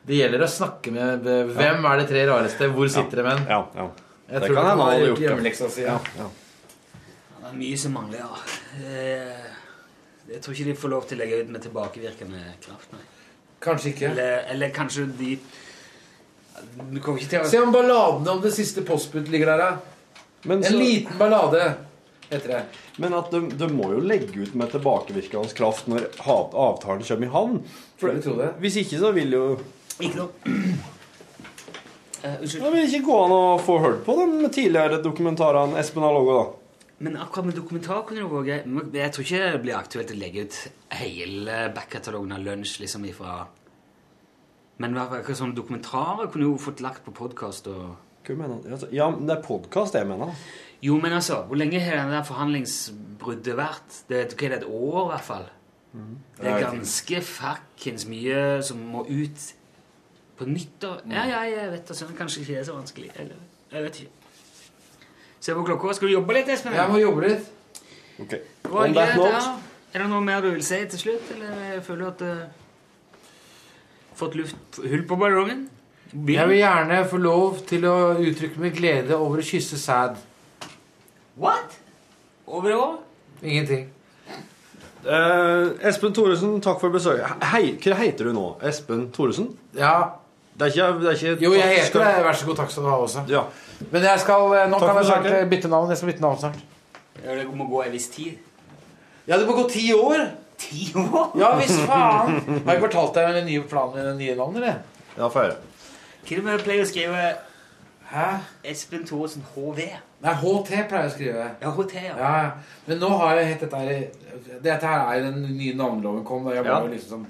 G: det gjelder å snakke med Hvem er de tre rareste? Hvor sitter det menn?
C: Ja, ja.
G: Jeg
C: Det
G: tror
C: kan
G: han
C: hende han
G: hadde
C: hadde
G: gjort
C: gjort det.
G: hjemmeleksa si. Ja.
B: Ja, Det er mye som mangler, ja. Eh, Jeg tror ikke de får lov til å legge ut med tilbakevirkende kraft, nei.
G: Kanskje ikke.
B: Eller, eller kanskje de Du kommer ikke til å
G: Se om balladene om det siste postbud ligger der, da.
C: Men så-
G: En liten ballade heter det.
C: Men at de, de må jo legge ut med tilbakevirkende kraft når ha- avtalen kommer i havn. For
G: Skulle tro det.
C: Hvis ikke, så vil jo
B: Ikke noe. Unnskyld.
C: Det vil ikke gå an å få hørt på de tidligere dokumentarene Espen har laga, da.
B: Men akkurat med dokumentar kunne det gå greit. Men Jeg tror ikke det blir aktuelt å legge ut hele backkatalogen av lunsj liksom ifra Men hva- akkurat sånne dokumentarer kunne jo fått lagt på podkast og
C: Hva mener han? Altså, Ja, men det er podkast jeg mener.
B: Jo, men altså, hvor lenge har den der forhandlingsbruddet vært? Det, er- ok, det er et år, i hvert fall.
G: Mhm.
B: Det er ganske fuckings mye som må ut på nytt. Og, ja, ja, jeg vet det. Sånn kanskje ikke det er så vanskelig. Eller, jeg vet ikke. Se på klokka. Skal du jobbe litt, Espen?
G: Jeg må jobbe litt.
C: Ok.
B: Det var greit, ja. Er det noe mer du vil si til slutt, eller jeg føler at uh, Fått luft hull på ballongen? Bilen?
G: Jeg vil gjerne få lov til å uttrykke min glede over å kysse sæd.
B: What? Over og over?
G: Ingenting.
C: Eh, Espen Thoresen, takk for besøket. Hei, hva heter du nå? Espen Thoresen?
G: Ja.
C: Det er ikke, det er ikke
G: Jo, jeg heter det. Vær så god, takk skal du ha også.
C: Ja.
G: Men jeg skal, eh, nå
C: Takk
G: kan
C: for
G: jeg snart
C: besøket.
G: bytte navn. Jeg skal bytte navn snart.
B: Ja, Det må gå en viss tid.
G: Ja, det må gå ti år!
B: Ti år?
G: Ja visst faen! Har jeg fortalt deg om den nye planen med det nye navnet, eller?
C: Ja, få høre.
B: Hva er det vi pleier å skrive
G: Hæ?
B: Espen Thoresen HV.
G: Nei, HT pleier jeg å skrive.
B: Ja, HT, ja.
G: ja. ja. Men nå har jeg hett dette her Dette her er jo den nye navneloven kom. Da. Jeg var
B: Ja.
G: jo liksom sånn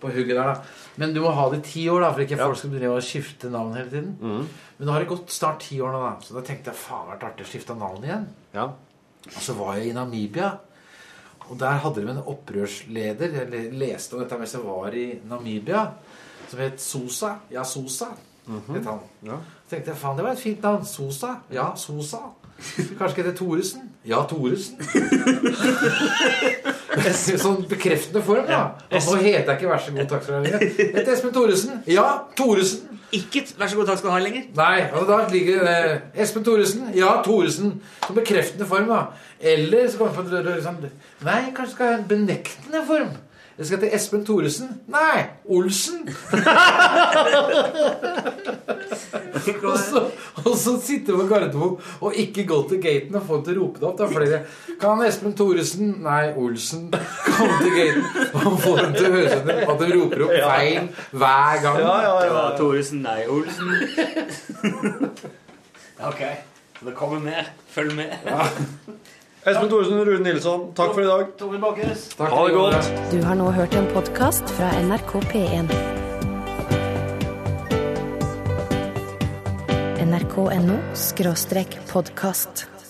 G: på hugget der, da. Men du må ha det i ti år, da, for ikke folk skal begynne å skifte navn hele tiden. Men nå har det gått snart ti år nå, da. Så da tenkte jeg faen vært artig å skifte navn igjen. Og så var jeg i Namibia. Og der hadde de en opprørsleder, eller leste om dette mens jeg var i Namibia, som het Sosa. Ja, Sosa. het han. Så tenkte jeg, faen, det var et fint navn. Sosa. Ja, Sosa. Kanskje ikke det Thoresen? Ja, Thoresen. I sånn bekreftende form, da. Og nå heter jeg ikke 'vær så god, takk skal du ha' lenger. Jeg heter Espen Thoresen. Ja, Thoresen.
B: Ikke 'vær så god, takk skal du ha' lenger?
G: Nei. Og da ligger det eh, Espen Thoresen. Ja, Thoresen. Som bekreftende form, da. Eller så kommer man på liksom, Nei, kanskje skal jeg ha en benektende form. Jeg skal til Espen Thoresen. Nei, Olsen. og, så, og så sitte på Gardermoen og ikke gå til gaten og få dem til å rope det opp. Da, flere. Kan Espen Thoresen Nei, Olsen. Komme til gaten og få dem til å høre seg at de roper opp
E: Ja.
G: feil hver gang.
E: Det var Thoresen, nei, Olsen. ok. Så det kommer mer. Følg med.
C: Espen Thoresen, Rune Nilsson, takk for i dag.
E: Tore Bakkes.
C: Ha det godt.
A: Du har nå hørt en podkast fra NRK P1. NRK.no skråstrek podkast.